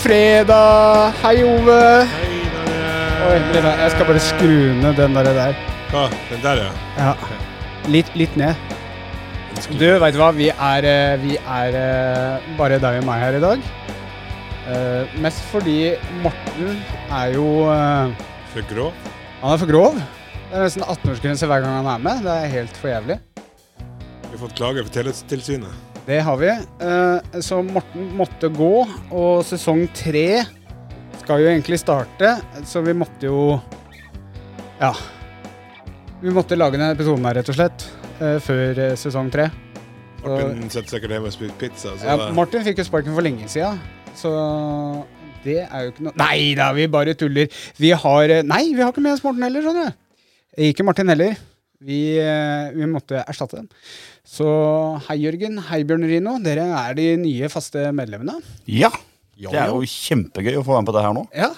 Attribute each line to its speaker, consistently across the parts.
Speaker 1: fredag! Hei, Ove!
Speaker 2: Hei, der
Speaker 1: Oi,
Speaker 2: er-
Speaker 1: Lena, jeg skal bare skru ned den der. der.
Speaker 2: Hva? Den der, ja.
Speaker 1: Ja. Litt, litt ned. Du, veit du hva? Vi er, eh, vi er eh, bare deg og meg her i dag. Eh, mest fordi Morten er jo eh,
Speaker 2: For grå?
Speaker 1: Han er for grov. Det er nesten 18-årsgrense hver gang han er med. Det er helt for jævlig.
Speaker 2: Vi har fått klage fra Teletilsynet.
Speaker 1: Det har vi. Eh, Så Morten måtte gå, og sesong tre skal jo egentlig starte, så vi måtte jo Ja. Vi måtte lage denne episoden her, rett og slett, eh, før eh, sesong tre.
Speaker 2: Morten sitter sikkert hjemme og spiser pizza. Så
Speaker 1: Ja, Martin fikk jo sparken for lenge sida, så det er jo ikke noe Nei da, vi bare tuller. Vi har eh, Nei, vi har ikke med oss Morten heller, skjønner du. Ikke Martin heller. Vi, eh, vi måtte erstatte dem. Så hei, Jørgen. Hei, Bjørn Rino. Dere er de nye faste medlemmene.
Speaker 3: Ja. Det er jo kjempegøy å få være med på det her nå.
Speaker 1: Ja.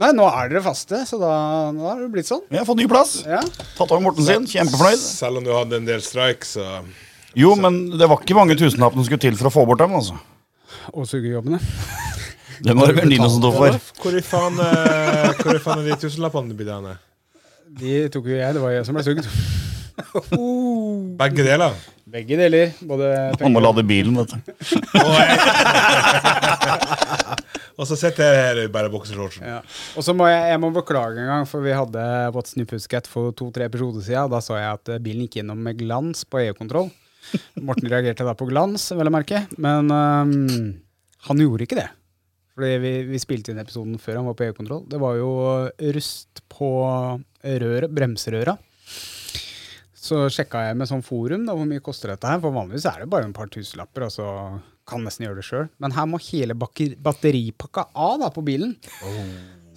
Speaker 1: Nei, nå er dere faste, så da, da har det blitt sånn.
Speaker 3: Vi har fått ny plass.
Speaker 1: Ja.
Speaker 3: Tatt over Morten sin. Kjempefornøyd.
Speaker 2: selv om du hadde en del streik, så
Speaker 3: Jo, men det var ikke mange tusenlapp som skulle til for å få bort dem, altså.
Speaker 1: Og sugejobbene.
Speaker 3: Det må det Bjørn Dino som sto for.
Speaker 2: Hvor i faen, eh, hvor i faen er de tusenlappene blitt av? henne?
Speaker 1: De tok jo jeg. Det var jeg som ble sugd.
Speaker 2: Begge deler.
Speaker 1: Begge deler. Både
Speaker 3: Han må
Speaker 1: penger-
Speaker 3: lade bilen, vet du.
Speaker 2: Og så sitter jeg her i bare boksershortsen.
Speaker 1: Ja. Og så må jeg, jeg må beklage en gang, for vi hadde What's New Pussycat for to-tre episoder siden. og Da så jeg at eh, bilen gikk gjennom med glans på EU-kontroll. Morten reagerte da på glans, vel å merke. Men ehm, han gjorde ikke det. Fordi vi, vi spilte inn episoden før han var på EU-kontroll. Det var jo eh, rust på røret, bremserøra. Så sjekka jeg med sånn forum da, hvor mye koster dette her. For vanligvis er det bare en par tusenlapper. Altså, kan nesten gjøre det sjøl. Men her må hele bakker- batteripakka av da, på bilen.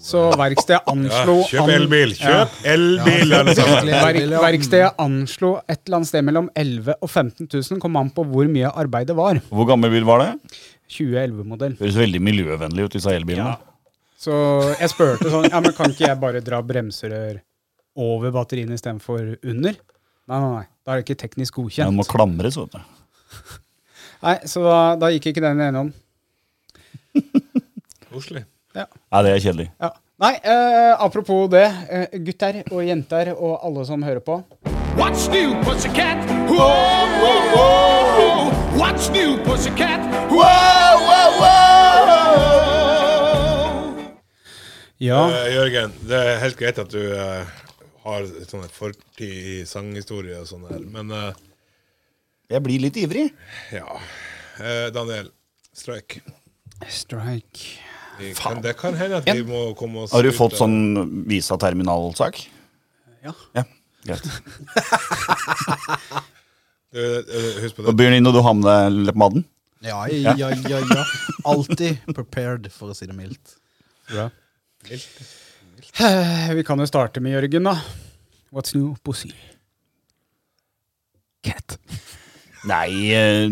Speaker 1: Så verkstedet
Speaker 2: Ja,
Speaker 1: anslo
Speaker 2: kjøp
Speaker 1: an-
Speaker 2: elbil! Kjøp elbil, alle sammen!
Speaker 1: Verk, verkstedet anslo et eller annet sted mellom 11 og 15 000, kom an på hvor mye arbeidet var.
Speaker 3: Hvor gammel bil var det?
Speaker 1: 2011-modell.
Speaker 3: Høres veldig miljøvennlig ut, disse elbilene.
Speaker 1: Så jeg spurte sånn Ja, men kan ikke jeg bare dra bremserør over batteriene istedenfor under? Nei, nei, nei. Da er det ikke teknisk
Speaker 3: Den må
Speaker 1: godkjent.
Speaker 3: klamres, vet du.
Speaker 1: Nei, Så da, da gikk ikke den gjennom.
Speaker 2: Koselig.
Speaker 1: Ja.
Speaker 3: Nei, det er kjedelig.
Speaker 1: ja. Nei, eh, apropos det. Eh, gutter og jenter og alle som hører på.
Speaker 4: What's new, pussycat? Whoa, whoa, whoa. What's new, pussycat? Whoa, whoa, whoa.
Speaker 1: Ja.
Speaker 2: Eh, Jørgen, det er helt greit at du eh, har sånne fortid i sanghistorie og sånn her, men eh,
Speaker 3: Jeg blir litt ivrig.
Speaker 2: ja. Eh, Daniel, streik.
Speaker 1: Strike.
Speaker 2: Vi Kan, det kan hende at vi må komme oss
Speaker 3: Har du
Speaker 2: ut
Speaker 3: fått
Speaker 2: av-
Speaker 3: sånn Visa-terminalsak?
Speaker 1: Ja.
Speaker 3: Ja. Greit.
Speaker 2: Du, eh, Husk på
Speaker 3: Og
Speaker 2: det.
Speaker 3: Bjørn Dino, du har med deg leppepommaden?
Speaker 5: Ja, ja, ja, ja. ja. Alltid prepared, for å si det mildt.
Speaker 1: Bra. Eh, Vi kan jo starte med Jørgen, da. What's new, pussy? Cat.
Speaker 3: Nei, eh,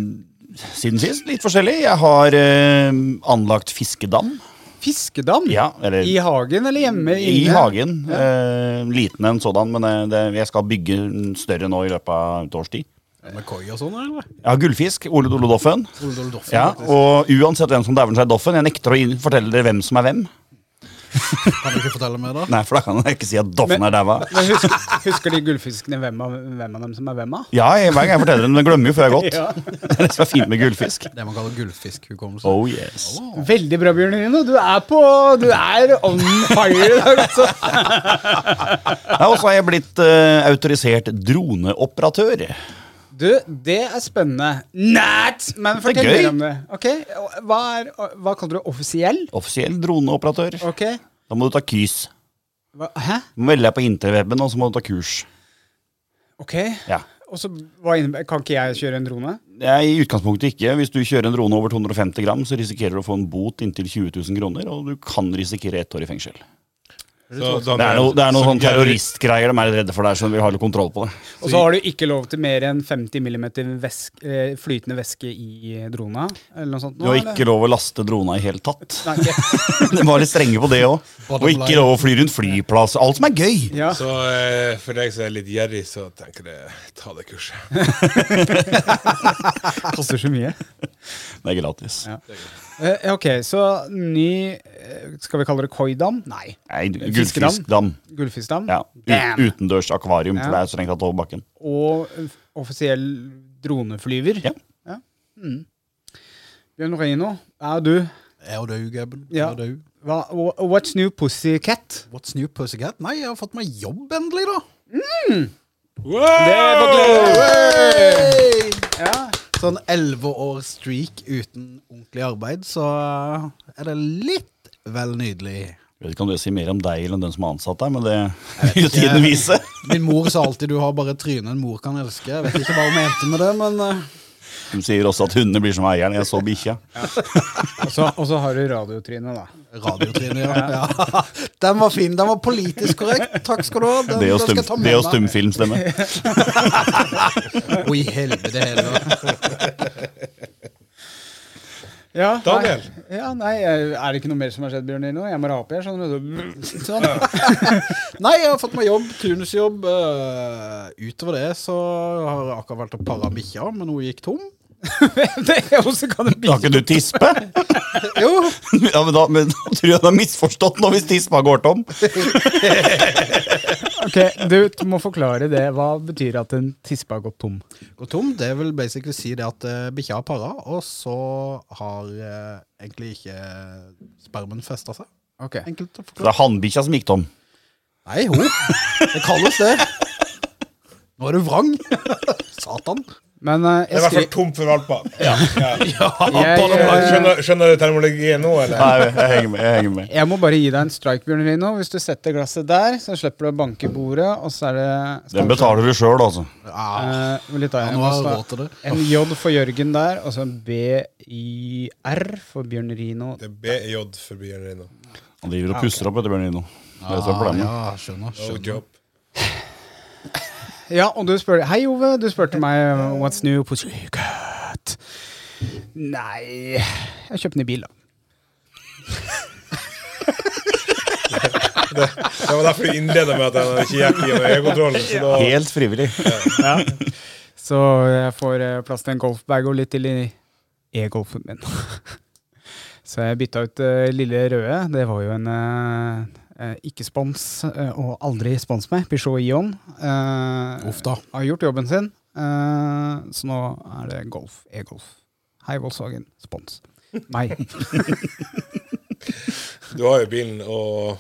Speaker 3: siden sist litt forskjellig. Jeg har eh, anlagt fiskedam.
Speaker 1: Fiskedam?
Speaker 3: Ja, eller
Speaker 1: I hagen eller hjemme?
Speaker 3: i
Speaker 1: inne?
Speaker 3: hagen. Eh, liten en sådan, men eh, det, jeg skal bygge en større nå i løpet av et års tid.
Speaker 5: Med koi og sånn, eller?
Speaker 3: Jeg har gullfisk, Ole Dolo Doffen.
Speaker 5: Ole Dole Doffen,
Speaker 3: Ja,
Speaker 5: faktisk.
Speaker 3: og uansett hvem som dæver seg i Doffen, jeg nekter å inn- fortelle dere hvem som er hvem.
Speaker 5: Kan du ikke fortelle mer, da?
Speaker 3: Nei, for da kan jeg ikke si at Doffen
Speaker 1: Men-
Speaker 3: er dæva.
Speaker 1: Men husker, husker de gullfiskene hvem av, hvem av dem som er hvem av?
Speaker 3: Ja, jeg- hver gang jeg forteller dem, de glemmer jo før jeg har gått.
Speaker 1: Ja.
Speaker 3: Det er det som er fint med gullfisk.
Speaker 5: Det man kaller gullfiskhukommelse.
Speaker 3: Oh yes.
Speaker 1: Veldig bra, Bjørn Rino. Du er på Du er on fire i dag, altså.
Speaker 3: Ja, og så har jeg blitt eh, autorisert droneoperatør.
Speaker 1: Du, det er spennende. Nært! Men fortell mer
Speaker 3: gøy.
Speaker 1: om det. Ok, Hva, er, hva kaller du offisiell?
Speaker 3: Offisiell droneoperatør.
Speaker 1: Ok.
Speaker 3: Da må du ta KYS.
Speaker 1: Hva, hæ?
Speaker 3: Du må melde deg på interweben, og så må du ta kurs.
Speaker 1: Ok.
Speaker 3: Ja.
Speaker 1: Og så hva innebærer- Kan ikke jeg kjøre en drone?
Speaker 3: Det er I utgangspunktet ikke. Hvis du kjører en drone over 250 gram, så risikerer du å få en bot inntil 20 000 kroner, og du kan risikere ett år i fengsel.
Speaker 2: Så,
Speaker 3: Det er,
Speaker 2: Daniel,
Speaker 3: noe, det er
Speaker 2: som
Speaker 3: noen sånn
Speaker 2: Jerry-
Speaker 3: terroristgreier de er redde for der, så de vil ha litt kontroll på det.
Speaker 1: Og så har du ikke lov til mer enn 50 mm væsk, eh, flytende væske i drona? Eller noe sånt? nå,
Speaker 3: Du har
Speaker 1: eller?
Speaker 3: ikke lov å laste drona i hele tatt.
Speaker 1: Nei, ikke.
Speaker 3: De var litt strenge på det òg. Og
Speaker 5: Bottom
Speaker 3: ikke
Speaker 5: line.
Speaker 3: lov å fly rundt flyplass. Alt som er gøy!
Speaker 1: Ja.
Speaker 2: Så eh, for deg som er litt gjerrig, så tenker jeg ta det kurset.
Speaker 1: Koster så mye.
Speaker 3: Det er gratis.
Speaker 1: Ja. Eh, ok, så ny eh, Skal vi kalle det koidam? Nei.
Speaker 3: Nei, du-
Speaker 1: Fiskedam.
Speaker 3: gullfiskdam.
Speaker 1: Gullfiskdam.
Speaker 3: Ja.
Speaker 1: Damn.
Speaker 3: U- Utendørs akvarium,
Speaker 1: Ja.
Speaker 3: for det er strengt tatt over bakken.
Speaker 1: Og en f- offisiell droneflyver.
Speaker 3: Ja.
Speaker 1: Mm. Bjørn Reino, er du
Speaker 5: Er du død, Gabben?
Speaker 1: Ja.
Speaker 5: Er du død?
Speaker 1: hva, wha- What's new pussycat?
Speaker 5: What's new, pussycat? Nei, jeg har fått meg jobb endelig, da.
Speaker 1: Ja.
Speaker 5: Sånn elleve år streak uten ordentlig arbeid, så
Speaker 1: Ah.
Speaker 5: er det litt vel nydelig.
Speaker 3: Jeg vet ikke om det sier mer om deg eller om den som har ansatt deg, men det vil jo tiden vise.
Speaker 5: Min mor sa alltid 'du har bare trynet en mor kan elske'. Jeg vet ikke hva hun mente med det, men eh,
Speaker 3: Hun sier også at hundene blir som eieren. Jeg så bikkja.
Speaker 1: Og så- og så har du radiotrynet, da.
Speaker 5: radiotrynet, ja. ja. Den var fin. Den var politisk korrekt. Takk skal du ha. Den,
Speaker 3: Det og,
Speaker 5: den
Speaker 3: stum,
Speaker 5: skal jeg ta med
Speaker 3: det og
Speaker 5: meg.
Speaker 3: stumfilmstemme.
Speaker 5: Å, i helvete heller.
Speaker 1: Ja,
Speaker 2: Daniel.
Speaker 1: Nei, ja, nei, er det ikke noe mer som har skjedd, Bjørn Reino? Jeg må rape her, skjønner du. Sånn.
Speaker 5: Nei, jeg har fått meg jobb. Turnusjobb. eh, utover det så har jeg akkurat valgt å pare bikkja, men hun gikk tom.
Speaker 1: Det er også kan det bli.
Speaker 3: Har ikke du tispe?
Speaker 5: Jo,
Speaker 3: Ja, men da, men da tror jeg du har misforstått nå hvis tispa går tom.
Speaker 1: Ok, Du må forklare det. Hva betyr at en tispe har gått tom?
Speaker 5: Og tom, det vil basically si det at eh, bikkja har para, og så har eh, egentlig ikke spermen festa seg.
Speaker 1: Ok.
Speaker 5: Enkelt å
Speaker 3: Så det
Speaker 5: forklare.
Speaker 3: er hannbikkja som gikk tom.
Speaker 5: Nei, ho! Det kalles det. Nå er du vrang. Satan.
Speaker 1: Men eh,
Speaker 2: Det
Speaker 1: jeg
Speaker 2: er i hvert
Speaker 1: skri...
Speaker 2: fall tomt for valper. Ja.
Speaker 1: Jeg, eh,
Speaker 2: Skjønner, skjønner du termologien nå, eller?
Speaker 3: Nei, jeg henger med. Jeg henger med.
Speaker 1: jeg må bare gi deg en strike, Bjørn Reino. Hvis du setter glasset der, så slipper du å banke i bordet, og så er det
Speaker 3: Den betaler du sjøl, altså.
Speaker 5: Ja,
Speaker 1: Eh, litt av
Speaker 5: nå har jeg råd til det.
Speaker 1: En J for Jørgen der, og så en B-I-R for Bjørn Rino.
Speaker 2: Det er BJ for Bjørn Reino.
Speaker 3: Han driver og pusser opp etter Bjørn Nino. Det er så
Speaker 5: Ah,
Speaker 3: problemet.
Speaker 5: ja, skjønner.
Speaker 2: No
Speaker 5: skjønner.
Speaker 2: job.
Speaker 1: Ja, og du spør Hei, Ove. Du spurte meg eh, what's new på Sykat. Nei Jeg kjøpte ny bil, da.
Speaker 2: Det var derfor du innleda med at han ikke gikk i med øyekontrollen. Så da
Speaker 3: Helt frivillig.
Speaker 1: Så jeg får eh, plass til en golfbag og litt til i e-golfen min. Så jeg bytta ut eh, lille røde. Det var jo en eh, eh, ikke-spons eh, og aldri spons meg. Peugeot Ion. eh,
Speaker 5: Oh. Uff da.
Speaker 1: Har gjort jobben sin. eh, så nå er det golf. E-golf. Hei, Volkswagen. Spons. Meg.
Speaker 2: du har jo bilen og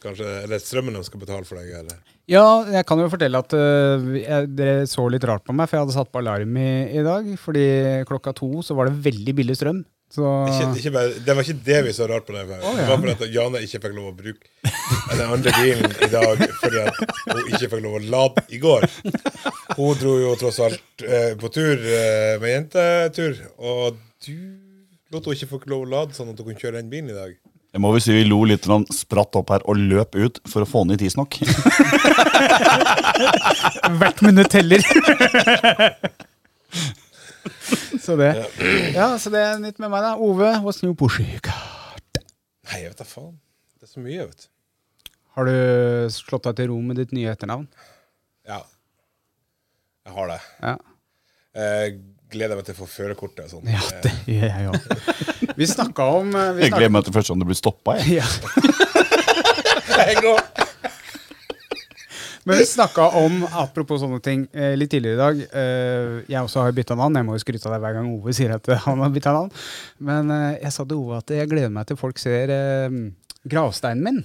Speaker 2: kanskje Eller strømmen de skal betale for deg, eller?
Speaker 1: Ja, jeg kan jo fortelle at øh, jeg, dere så litt rart på meg, for jeg hadde satt på alarm i, i dag. Fordi klokka to så var det veldig billig strøm. Så
Speaker 2: Ikke, ikke bare, det var ikke det vi så rart på deg for. Det var fordi at Jane ikke fikk lov å bruke den andre bilen i dag fordi at hun ikke fikk lov å lade i går. Hun dro jo tross alt eh, på tur eh, med jentetur, og du lot henne ikke få lov å lade sånn at hun kunne kjøre den bilen i dag.
Speaker 3: Jeg må vel si vi lo litt når han spratt opp her og løp ut for å få ned tidsnok.
Speaker 1: hvert minutt teller. så det. Ja, så det er nytt med meg, da. Ove, what's new Bushik?
Speaker 2: Nei, jeg vet da faen. Det er så mye, vet du.
Speaker 1: Har du slått deg til ro med ditt nye etternavn?
Speaker 2: Ja. Jeg har det.
Speaker 1: Ja.
Speaker 2: Jeg gleder meg til å få førerkortet og sånn.
Speaker 1: Ja, det gjør jeg òg. Vi snakka om eh, vi
Speaker 3: Jeg
Speaker 1: snakket-
Speaker 3: gleder meg til første gang du blir stoppa.
Speaker 1: Ja.
Speaker 2: Jeg går.
Speaker 1: Men vi snakka om, apropos sånne ting, eh, litt tidligere i dag eh, Jeg også har bytta navn. Jeg må jo skryte av deg hver gang Ove sier at eh, han har bytta navn. Men eh, jeg sa til Ove at jeg gleder meg til folk ser eh, gravsteinen min.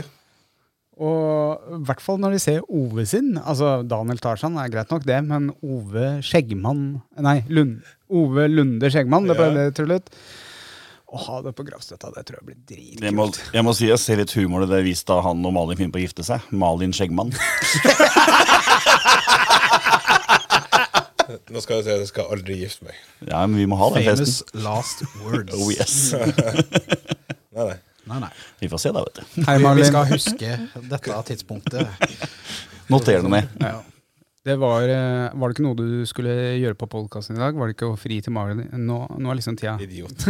Speaker 2: Ja.
Speaker 1: Og i hvert fall når de ser Ove sin. Altså Daniel Tarzan er greit nok, det, men Ove Skjeggmann Nei, Lund, Ove Lunde Skjeggmann, det ble
Speaker 2: Ja.
Speaker 1: det trullet. Å ha det på gravstøtta, det tror jeg blir
Speaker 3: Jeg må,
Speaker 1: dritkult.
Speaker 3: jeg må si jeg ser litt humor i det vis da han og Malin finner på å gifte seg. Malin Skjeggmann.
Speaker 2: Nå skal jeg si at jeg skal aldri gifte meg.
Speaker 3: Ja, men vi må ha den
Speaker 5: Famous
Speaker 3: festen.
Speaker 5: last words.
Speaker 3: Oh yes.
Speaker 2: Nei, nei.
Speaker 5: Nei, nei.
Speaker 3: Vi får se, da, vet du.
Speaker 1: Hei,
Speaker 5: Vi, vi
Speaker 1: Malin.
Speaker 5: skal huske dette tidspunktet.
Speaker 3: Noter det ned.
Speaker 1: Ja. Det var, eh, var det ikke noe du skulle gjøre på podkasten i dag? Var det ikke å fri til Malin? Nå, nå er liksom tida
Speaker 2: Idiot.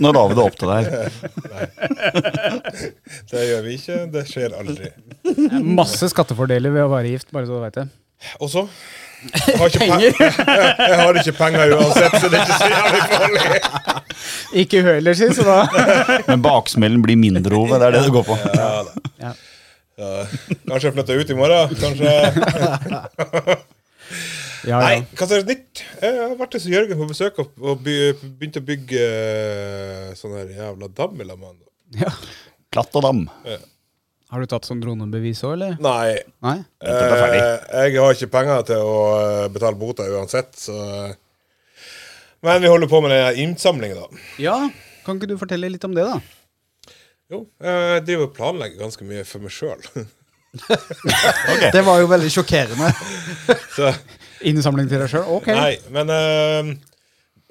Speaker 3: Nå la vi det opp til deg.
Speaker 2: Det gjør vi ikke. Det skjer aldri.
Speaker 1: Masse skattefordeler ved å være gift, bare så du veit det.
Speaker 2: Og så Jeg har ikke penger. jeg har ikke penger uansett, så det er ikke så jævlig farlig.
Speaker 1: Ikke hun heller, si, så da
Speaker 3: Men baksmellen blir mindre, Ove. Det er det det går på.
Speaker 2: Ja, da.
Speaker 1: Ja.
Speaker 2: Ja. Kanskje jeg flytter ut i morgen. Kanskje
Speaker 1: Ja,
Speaker 2: Nei,
Speaker 1: ja.
Speaker 2: hva som er nytt? Jeg har vært hos Jørgen på besøk og, og by, begynt å bygge eh, sånn her jævla dam i lag med han.
Speaker 1: ja.
Speaker 3: Klatt og dam.
Speaker 1: Har du tatt sånn dronebevis òg, eller?
Speaker 2: Nei.
Speaker 1: Nei?
Speaker 3: Vent til det er ferdig.
Speaker 2: eh, jeg har ikke penger til å eh, betale bota uansett, så Men vi holder på med den innsamlinga, da.
Speaker 1: Ja. Kan ikke du fortelle litt om det, da?
Speaker 2: Jo, eh, jeg driver og planlegger ganske mye for meg sjøl.
Speaker 5: Det var jo veldig sjokkerende.
Speaker 2: Så
Speaker 1: Innsamling til deg sjøl? Ok.
Speaker 2: Nei, men eh,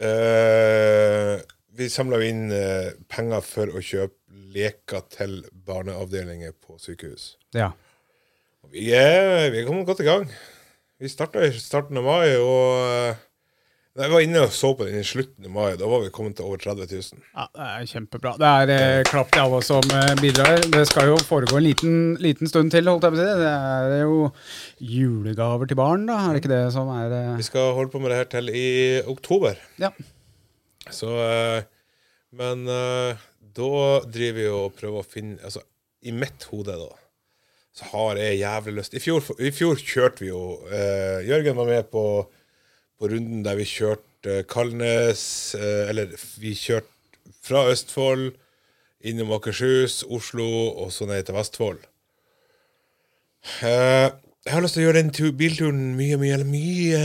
Speaker 2: eh, Vi samla jo inn eh, penger for å kjøpe leker til barneavdelinger på sykehus.
Speaker 1: Ja.
Speaker 2: Og Vi er, vi er kommet godt i gang. Vi starta i starten av mai, og eh, Jeg var inne og så på den i slutten av mai. Da var vi kommet til over 30 000.
Speaker 1: Ja, det er kjempebra. Det er eh, klapp til alle som eh, bidrar. Det skal jo foregå en liten, liten stund til, holdt jeg på å si. Det er jo julegaver til barn, da. Er det ikke det som er eh,
Speaker 2: Vi skal holde på med det her til i oktober.
Speaker 1: Ja.
Speaker 2: Så eh, Men eh, da driver vi og prøver å finne Altså, i mitt hode, da, så har jeg jævlig lyst I fjor, I fjor kjørte vi jo eh, Jørgen var med på, på runden der vi kjørte eh, Kalnes eh, Eller vi kjørte fra Østfold innom Akershus, Oslo og så ned til Vestfold. Eh, jeg har lyst til å gjøre den tu- bilturen mye, mye, mye,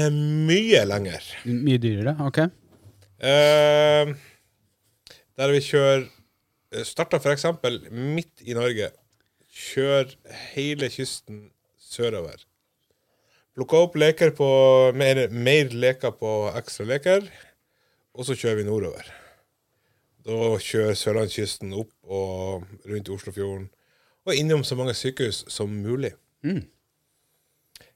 Speaker 2: mye lenger.
Speaker 1: Mye dyrere? Ok.
Speaker 2: Eh, der vi kjører eh, Starta f.eks. midt i Norge. Kjør hele kysten sørover. Plukka opp leker på mer, mer leker på ekstra leker, og så kjører vi nordover. Da kjører sørlandskysten opp og rundt Oslofjorden, og innom så mange sykehus som mulig.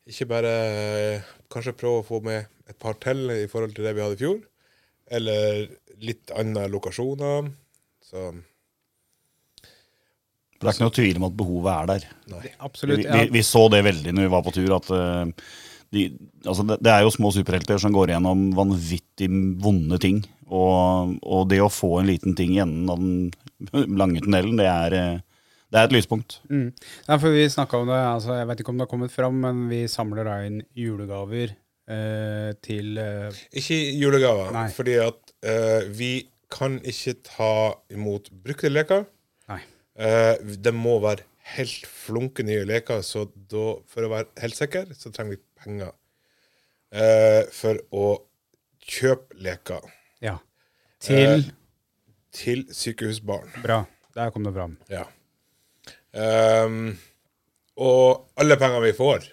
Speaker 2: Ikke bare eh, Kanskje prøve å få med et par til i forhold til det vi hadde i fjor eller litt andre lokasjoner. Så
Speaker 3: Det er ikke noe tvil om at behovet er der. Vi,
Speaker 1: Absolutt.
Speaker 3: vi,
Speaker 1: Ja.
Speaker 3: vi så det veldig når vi var på tur, at eh, de, altså det, det er jo små superhelter som går gjennom vanvittig vonde ting. Og, og det å få en liten ting i enden av den lange tunnelen, det er, eh, det er et lyspunkt.
Speaker 1: Mm. Nei, for vi snakket om det, altså, jeg vet ikke om det har kommet fram, men vi samler da inn julegaver eh, til eh,
Speaker 2: ikke julegaver,
Speaker 1: Nei.
Speaker 2: fordi at eh, vi kan ikke ta imot brukte leker.
Speaker 1: Nei.
Speaker 2: Eh, det må være helt flunke nye leker, så da, for å være helt sikker, så trenger vi penger eh, for å kjøpe leker
Speaker 1: Ja. Til
Speaker 3: Eh.
Speaker 2: til sykehusbarn.
Speaker 1: Bra. Der kom det fram.
Speaker 2: Ja. Ehm, og alle penger vi får,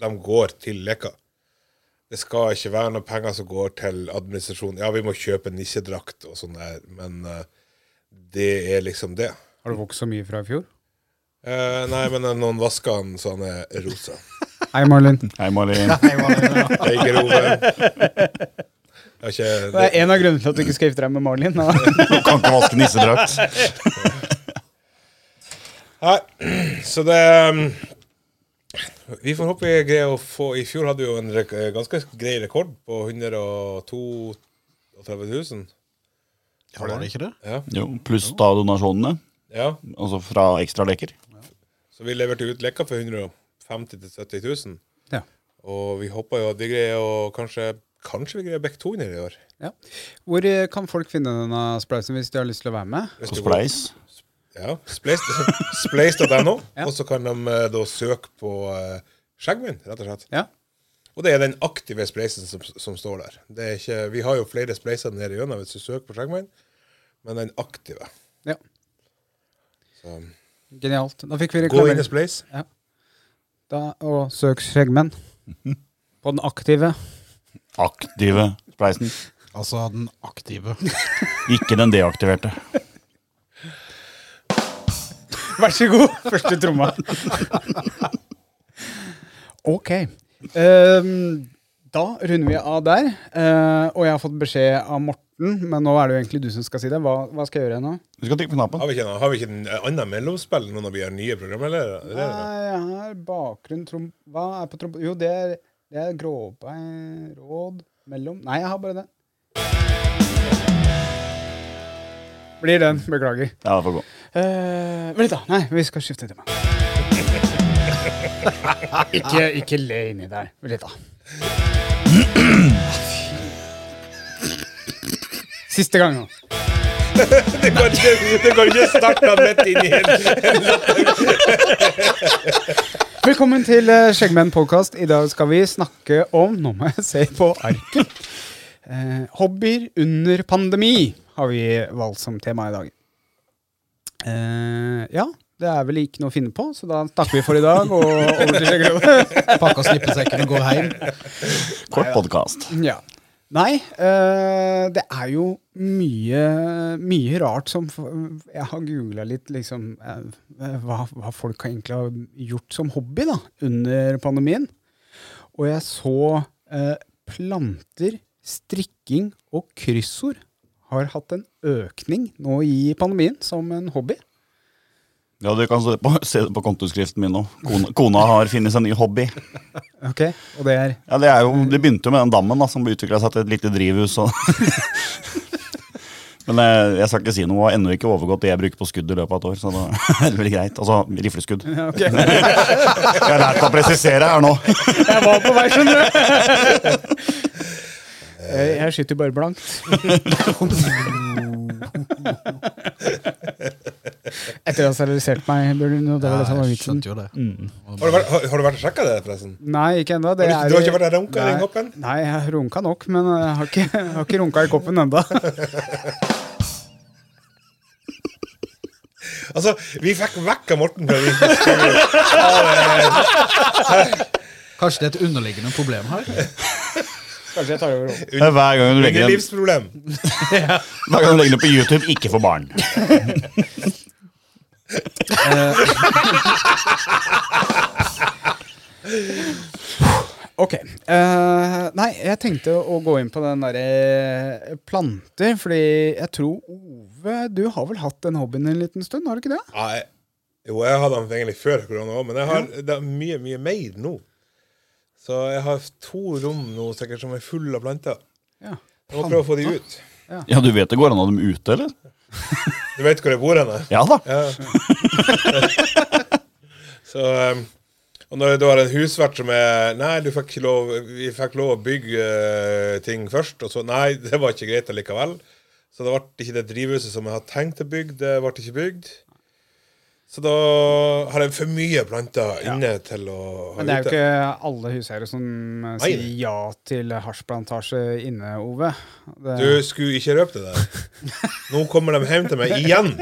Speaker 2: de går til leker. Det skal ikke være noen penger som går til administrasjon. Ja, vi må kjøpe nissedrakt og sånn der, men eh, det er liksom det.
Speaker 1: Har du vokst så mye fra i fjor?
Speaker 2: Eh, nei, men eh, noen vasker den så han er rosa.
Speaker 1: Hei, Marlin.
Speaker 3: Hei, Malin.
Speaker 2: Det er ikke Rove. Det er ikke,
Speaker 1: Det er en av grunnene til at du ikke skal gifte deg med Marlin. da.
Speaker 3: Du kan ikke vaske nissedrakt.
Speaker 2: Nei, så det um, Vi får håpe vi greier å få I fjor hadde vi jo en rek eh, ganske grei rekord på 132 000.
Speaker 5: Var det ikke det?
Speaker 2: Ja.
Speaker 3: Jo, pluss da donasjonene,
Speaker 2: ja.
Speaker 3: altså fra ekstra leker.
Speaker 2: Så vi leverte ut leker for 150 000-70 000.
Speaker 1: Ja.
Speaker 2: Og vi håper jo at vi greier å kanskje Kanskje vi greier å bekke 200 i år.
Speaker 1: Ja. Hvor eh, kan folk finne denne spleisen hvis de har lyst til å være med?
Speaker 2: Hvis
Speaker 3: På
Speaker 2: det går-
Speaker 3: Spleis.
Speaker 2: Ja, Spleis.no.
Speaker 1: Ja.
Speaker 2: Og så kan de eh, da søke på eh, skjeggmunn, rett og slett.
Speaker 1: Ja.
Speaker 2: Og det er den aktive spleisen som, som står der. Det er ikke, vi har jo flere spleiser nede gjennom hvis du søker på Skjeggmenn, men den aktive.
Speaker 1: ja.
Speaker 2: Så,
Speaker 1: Genialt. Da fikk vi
Speaker 2: gå inn i
Speaker 1: reklamere.
Speaker 2: spleis.
Speaker 1: Da, og søk skjeggmenn. På den aktive.
Speaker 3: Aktive spleisen.
Speaker 5: Altså den aktive.
Speaker 3: Ikke den deaktiverte.
Speaker 1: Vær så god. Første tromma. ok. Ehm, da runder vi av der. Eh, og jeg har fått beskjed av Morten, men nå er det jo egentlig du som skal si det. Hva, hva skal jeg gjøre nå?
Speaker 3: Du skal trykke på knappen.
Speaker 2: Har vi ikke, noe- har vi ikke en eh, annen mellomspill nå når vi er nye programledere? Er det det?
Speaker 1: Nei, jeg har bakgrunn trom... Hva er på trom... Jo, det er Det er gråbein, råd, mellom Nei, jeg har bare den. Blir den. Beklager.
Speaker 3: Ja, det får gå.
Speaker 1: Eh, vent litt, da. Nei, vi skal skifte tema. ikke, ikke le inni der. Vent litt, da. Siste gang nå.
Speaker 2: Det kan ikke, det kan ikke starte midt inn i hele
Speaker 1: Velkommen til eh, Skjeggmenn podkast. I dag skal vi snakke om Nå må jeg se på arket. Eh, hobbyer under pandemi har vi valgt som tema i dag. Eh, ja, det er vel ikke noe å finne på, så da takker vi for i dag og over til skjeggrøvet.
Speaker 5: Pakker slippesekken og går hjem.
Speaker 3: Kort podkast.
Speaker 1: Ja. Nei, eh, det er jo mye, mye rart som f- Jeg har googla litt liksom, eh, hva, hva folk har egentlig har gjort som hobby da, under pandemien. Og jeg så eh, planter, strikking og kryssord har hatt en økning nå i pandemien som en hobby.
Speaker 3: Ja, du kan se det på, se det på kontoskriften min nå. Kona, kona har funnet seg en ny hobby.
Speaker 1: Ok, Og det er
Speaker 3: Ja, Det er jo, det begynte jo med den dammen da, som utvikla seg til et lite drivhus. Og Men jeg, jeg skal ikke si noe, og har ennå ikke overgått det jeg bruker på skudd i løpet av et år. Så da er det vel greit. Altså rifleskudd. Jeg har lært meg å presisere her nå.
Speaker 1: Jeg var på vei, skjønner du. Eh, Jeg skyter bare blankt. Etter å ha sterilisert meg, Bjørn. og Det var det som var vitsen.
Speaker 5: skjønte jo det.
Speaker 2: Har du vært, har, har du vært og sjekka det, forresten?
Speaker 1: Nei, ikke ennå.
Speaker 2: Har du ikke- du har ikke vært der runka i den koppen?
Speaker 1: Nei, jeg har runka nok, men jeg har ikke, jeg har ikke runka i koppen ennå.
Speaker 2: Altså, vi fikk vekk av Morten fra vinterstudio.
Speaker 5: Kanskje det er et underliggende problem her?
Speaker 1: Kanskje jeg tar over rollen.
Speaker 3: Hver gang du legger den,
Speaker 2: Underlivsproblem.
Speaker 3: hver gang du legger den på YouTube, ikke for barn.
Speaker 1: Ok. eh, nei, jeg tenkte å gå inn på den derre eh, planter, fordi jeg tror Ove, du har vel hatt den hobbyen en liten stund, har du ikke det?
Speaker 2: Ja, jeg- jo, jeg hadde den egentlig før korona òg, men jeg har det er mye, mye mer nå. Så jeg har to rom nå sikkert som er fulle av planter.
Speaker 1: Ja.
Speaker 2: Jeg må prøve å få de ut.
Speaker 3: Ja, du vet det går an å ha dem ute, eller?
Speaker 2: Du vet hvor jeg bor hen?
Speaker 3: Ja da.
Speaker 2: Ja. så um, Og når jeg da har en husvert som er Nei, du fikk ikke lov, vi fikk lov å bygge eh, ting først, og så Nei, det var ikke greit allikevel. Så det ble ikke det drivhuset som jeg hadde tenkt å bygge, det ble ikke bygd. Så da har jeg for mye planter inne til å ha
Speaker 1: Men det er jo
Speaker 2: ute.
Speaker 1: ikke alle huseiere som eh,
Speaker 2: Nei.
Speaker 1: sier ja til hasjplantasje inne, Ove. Det,
Speaker 2: Du skulle ikke røpe det der. Nå kommer de hjem til meg igjen.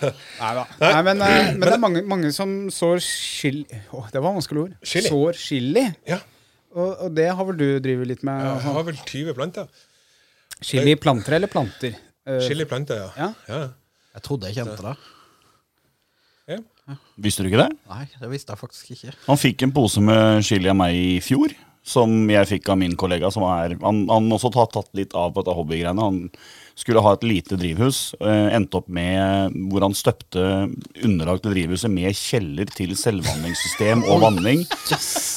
Speaker 1: nei da. Nei, men, eh, men det er mange, mange som sår chili Åh, Det var vanskelig ord.
Speaker 2: Chili.
Speaker 1: Sår chili.
Speaker 2: Ja,
Speaker 1: Og, og det har vel du drevet litt med?
Speaker 2: jeg
Speaker 1: og sånn.
Speaker 2: har vel 20 planter.
Speaker 1: Chili planter eller planter? Eh,
Speaker 2: Chiliplanter, ja.
Speaker 1: Ja.
Speaker 2: ja.
Speaker 5: Jeg trodde jeg kjente det.
Speaker 2: ja.
Speaker 3: Visste du ikke det?
Speaker 5: Nei, det visste jeg faktisk ikke.
Speaker 3: Han fikk en pose med chili av meg i fjor, som jeg fikk av min kollega. Som er, han, han også har tatt litt av på dette hobbygreiene. Han skulle ha et lite drivhus, eh, endte opp med hvor han støpte underlag til drivhuset med kjeller til selvvanningssystem og vanning.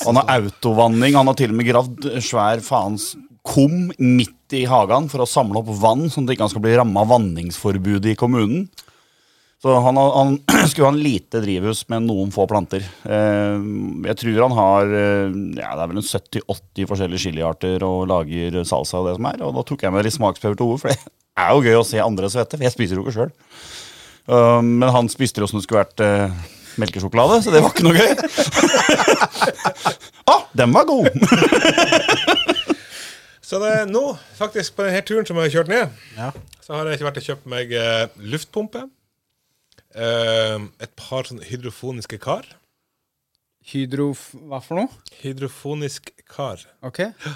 Speaker 3: Han har autovanning, han har til og med gravd svær faens kum midt i hagen for å samle opp vann, sånn at ikke han skal bli ramma av vanningsforbudet i kommunen. Så han, har- han skulle ha en lite drivhus med noen få planter. Eh, Jeg tror han har eh, ja, det er vel en 70-80 forskjellige chiliarter og lager salsa og det som er. Og da tok jeg med litt smaksprøver til Ove, for det er jo gøy å se andre svette. For jeg spiser jo ikke sjøl. Men han spiste jo som det skulle vært eh, melkesjokolade, så det var ikke noe gøy. Å, ah, den var god!
Speaker 2: Så det er nå, faktisk, på denne turen som jeg har kjørt ned,
Speaker 5: Ja.
Speaker 2: så har jeg ikke vært og kjøpt meg eh, luftpumpe. eh, et par sånne hydrofoniske kar.
Speaker 1: Hydro... Hva for noe?
Speaker 2: Hydrofonisk kar.
Speaker 1: Ok. Hva,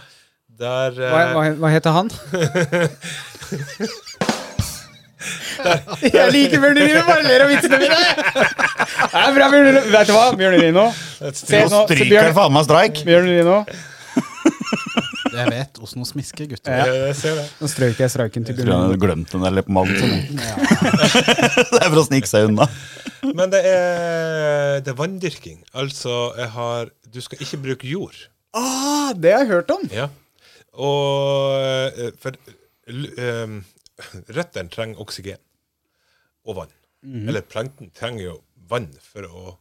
Speaker 2: Der, eh,
Speaker 1: hva, hva heter han? Jeg liker Bjørn Rino, bare ler av vitsene mine! Det er bra, Bjørn Rino. Vet du hva, Bjørn Rino?
Speaker 2: et
Speaker 1: Se
Speaker 2: stri-
Speaker 1: nå, se
Speaker 3: Stryker
Speaker 1: Bjørn,
Speaker 3: faen meg streik.
Speaker 1: Bjørn Rino.
Speaker 5: Jeg vet åssen hun smisker, gutter.
Speaker 2: Eh, jeg ser det.
Speaker 1: Nå strøk jeg strøken til
Speaker 3: Skulle
Speaker 1: Bjørn Rino.
Speaker 3: han glemt den der leppemannen sin. Det er for å snike seg unna.
Speaker 2: Men det er, det er vanndyrking. Altså, jeg har Du skal ikke bruke jord.
Speaker 1: Ah, det har jeg hørt om!
Speaker 2: Ja. Og eh, For l- em, røttene trenger oksygen og vann. Eller planten trenger jo vann for å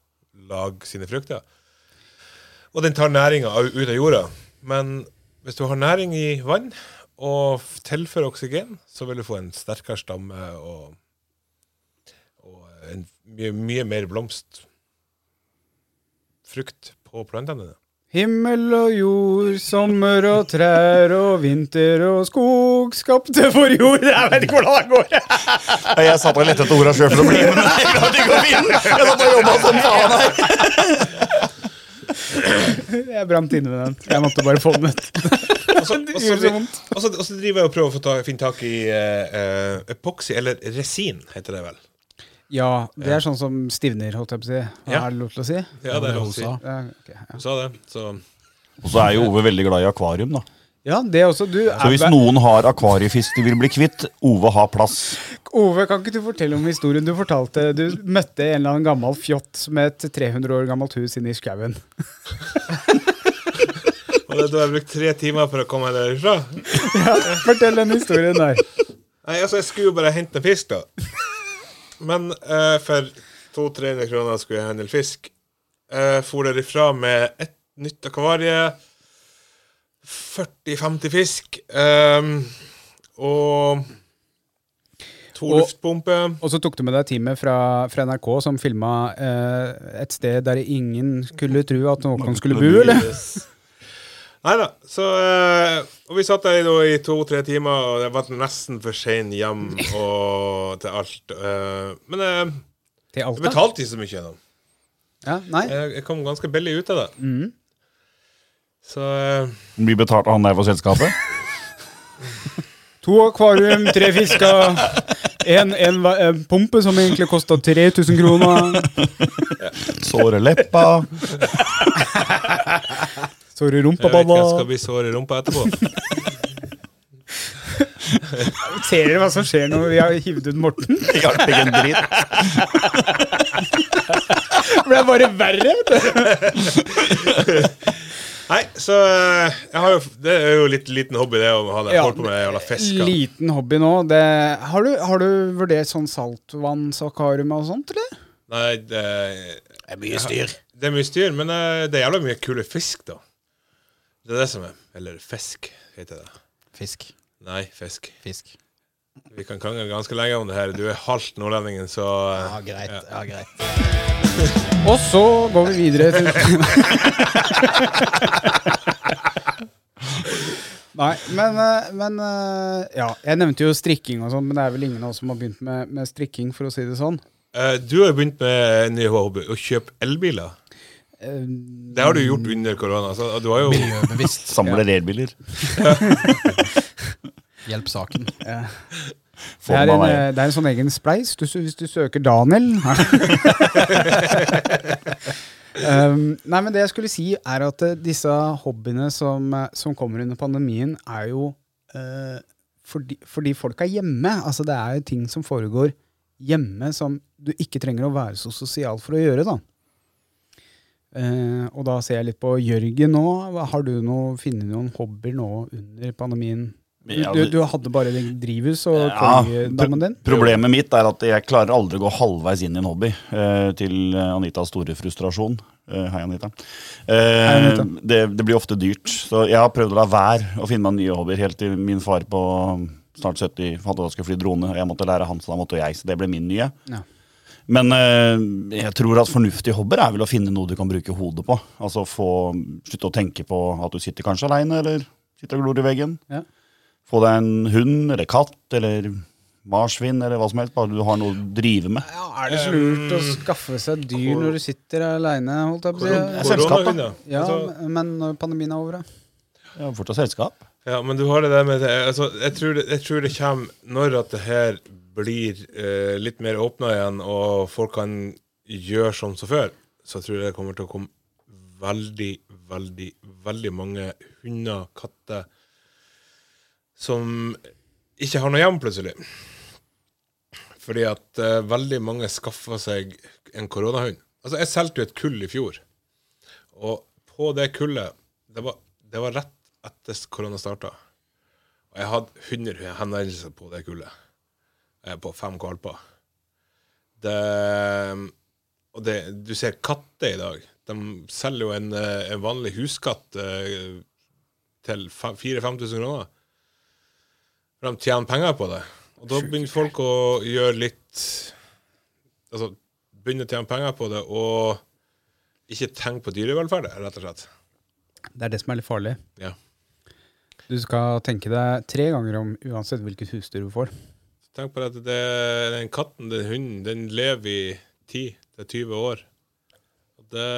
Speaker 2: lage sine frukter. Og den tar næringa au- ut av jorda. Men hvis du har næring i vann og f- tilfører oksygen, så vil du få en sterkere stamme og, og en mye, mye mer blomst. Frukt på plantene dine.
Speaker 1: Himmel og jord, sommer og trær og vinter og skog skapte for jord. Jeg vet ikke hvordan det går.
Speaker 3: Jeg satt og lette etter orda sjøl for å bli med, men jeg klarte ikke å finne Jeg satt og jobba som faen her.
Speaker 1: Jeg brant inne med den. Jeg måtte bare få den ut.
Speaker 2: Og så- og så- og så- og så altså, driver jeg og prøver å få ta, finne tak i eh, eh, epoxy, eller resin, heter det vel.
Speaker 1: Ja, det er sånn som stivner, holdt jeg på å si. Hva
Speaker 2: Ja.
Speaker 1: er det lov til å si?
Speaker 2: Ja, det er lov å si.
Speaker 5: Rosa.
Speaker 1: Ja, ok, ja.
Speaker 2: Du sa det, så
Speaker 3: Og så er jo Ove veldig glad i akvarium, da.
Speaker 1: ja, det er også. Du
Speaker 3: Så hvis
Speaker 1: er
Speaker 3: noen har akvariefisk de vil bli kvitt, Ove har plass.
Speaker 1: Ove, kan ikke du fortelle om historien du fortalte? Du møtte en eller annen gammel fjott med et 300 år gammelt hus inne i skauen.
Speaker 2: Og det, da har jeg brukt tre timer for å komme meg derfra.
Speaker 1: Fortell den historien der.
Speaker 2: Nei, altså, jeg skulle jo bare hente en fisk, da. Men eh, for 200-300 kroner skulle jeg handle fisk. Jeg for derifra med et nytt akvarie, 40-50 fisk, ehm, og to
Speaker 1: Og-
Speaker 2: luftpumper.
Speaker 1: Og så tok du med deg teamet fra, fra NRK som filma eh, et sted der ingen skulle tro at noen skulle bo, eller?
Speaker 2: Nei da. Så eh, Og vi satt der da i to-tre timer, og jeg var nesten for sein hjem og til alt. eh, men eh,
Speaker 1: Til
Speaker 2: jeg
Speaker 1: Alta?
Speaker 2: betalte ikke så mye gjennom.
Speaker 1: Ja, nei?
Speaker 2: Jeg, jeg kom ganske billig ut av det. Så eh,
Speaker 3: Blir betalt av han der for selskapet.
Speaker 1: To akvarium, tre fisker, en, en, va- en pumpe som egentlig kosta 3000 kroner.
Speaker 3: Såre leppa.
Speaker 1: Sorry,
Speaker 2: jeg vet ikke, jeg skal
Speaker 1: rumpapanna.
Speaker 2: bli sår i rumpa etterpå.
Speaker 1: Ser dere hva som skjer når vi har hivd ut Morten?
Speaker 3: Det hjalp ikke en dritt.
Speaker 1: Det ble bare verre. vet du.
Speaker 2: Nei, så eh, jeg har jo, Det er jo litt liten hobby, det å ha det.
Speaker 1: Ja,
Speaker 2: Holdt på med jævla fisker.
Speaker 1: Liten hobby nå. Det, har, du, har du vurdert sånn saltvannsakvarium og sånt, eller?
Speaker 2: Nei, det,
Speaker 5: Det er mye styr.
Speaker 2: det er mye styr, men eh, det er jævla mye kule fisk, da. Det er det som er. Eller fisk, heter det.
Speaker 5: Fisk.
Speaker 2: Nei, fisk.
Speaker 5: Fisk.
Speaker 2: Vi kan krangle ganske lenge om det her. Du er halvt nordlendingen, så
Speaker 5: Ja, greit. Ja, greit.
Speaker 1: Og så går vi videre til Nei, men, eh, men eh, Ja, jeg nevnte jo strikking og sånn, men det er vel ingen av oss som har begynt med, med strikking, for å si det sånn.
Speaker 2: Eh, Du har jo begynt med en ny hobby, å kjøpe elbiler.
Speaker 1: Eh,
Speaker 2: Det har du gjort under korona. Så du har jo
Speaker 5: Miljøbevisst.
Speaker 3: Samler elbiler.
Speaker 5: Hjelp saken.
Speaker 3: Få
Speaker 1: Det er,
Speaker 3: den av
Speaker 1: en,
Speaker 3: veien.
Speaker 1: eh, det er en sånn egen spleis du, hvis du søker Daniel. um, nei, men det jeg skulle si, er at eh, disse hobbyene som, eh, som kommer under pandemien, er jo eh, fordi, fordi folk er hjemme. Altså, det er jo ting som foregår hjemme som du ikke trenger å være så sosial for å gjøre, da. Eh, og da ser jeg litt på Jørgen nå. Hva- Har du noe, funnet noen hobbyer nå under pandemien? Du,
Speaker 3: Ja, altså-
Speaker 1: du,
Speaker 3: det-
Speaker 1: du hadde bare den drivhus og
Speaker 3: Ja,
Speaker 1: kongedamen din?
Speaker 3: pro- Problemet mitt er at jeg klarer aldri å gå halvveis inn i en hobby, eh, til eh, Anitas store frustrasjon. Eh, hei, Anita. Eh,
Speaker 1: Anita.
Speaker 3: Det, det blir ofte dyrt, så jeg har prøvd å la være å finne meg nye hobbyer, helt til min far på snart 70 fant ut at han skulle fly drone, og jeg måtte lære han, så da måtte jeg, så det ble min nye.
Speaker 1: Ja.
Speaker 3: Men eh, jeg tror at fornuftige hobbyer er vel å finne noe du kan bruke hodet på. Altså få, Slutte å tenke på at du sitter kanskje aleine, eller sitter og glor i veggen.
Speaker 1: Ja.
Speaker 3: Få deg en hund eller katt eller marsvin eller hva som helst. Bare du har noe å drive med.
Speaker 1: Ja, er det um, så lurt å skaffe seg dyr når du sitter aleine? holdt jeg på å
Speaker 2: Korona-
Speaker 1: si?
Speaker 3: selskap, da.
Speaker 2: koronahunder.
Speaker 1: Ja,
Speaker 2: Altså,
Speaker 1: men når pandemien er over, da?
Speaker 3: Jeg har fortsatt selskap.
Speaker 2: ja, men du har det der med det. Altså, jeg, tror det, jeg tror det kommer når at det her blir eh, litt mer åpna igjen, og folk kan gjøre som som før, så tror jeg det kommer til å komme veldig, veldig, veldig mange hunder, katter, som ikke har noe hjem, plutselig. Fordi at eh, veldig mange skaffa seg en koronahund. Altså, jeg solgte jo et kull i fjor. Og på det kullet Det var, det var rett etter korona starta. Og jeg hadde 100 henvendelser på det kullet. Eh, På fem valper. Det Og det, du ser katter i dag. De selger jo en, eh, en vanlig huskatt eh, til 4000-5000 kroner. For de tjener penger på det. Og da begynner folk å gjøre litt Altså begynne å tjene penger på det og ikke tenke på dyrevelferd, rett og slett.
Speaker 1: Det er det som er litt farlig.
Speaker 2: Ja.
Speaker 1: Du skal tenke deg tre ganger om uansett hvilket husdyr du får.
Speaker 2: Tenk på at det, den katten, den hunden, den lever i 10-20 år. Og det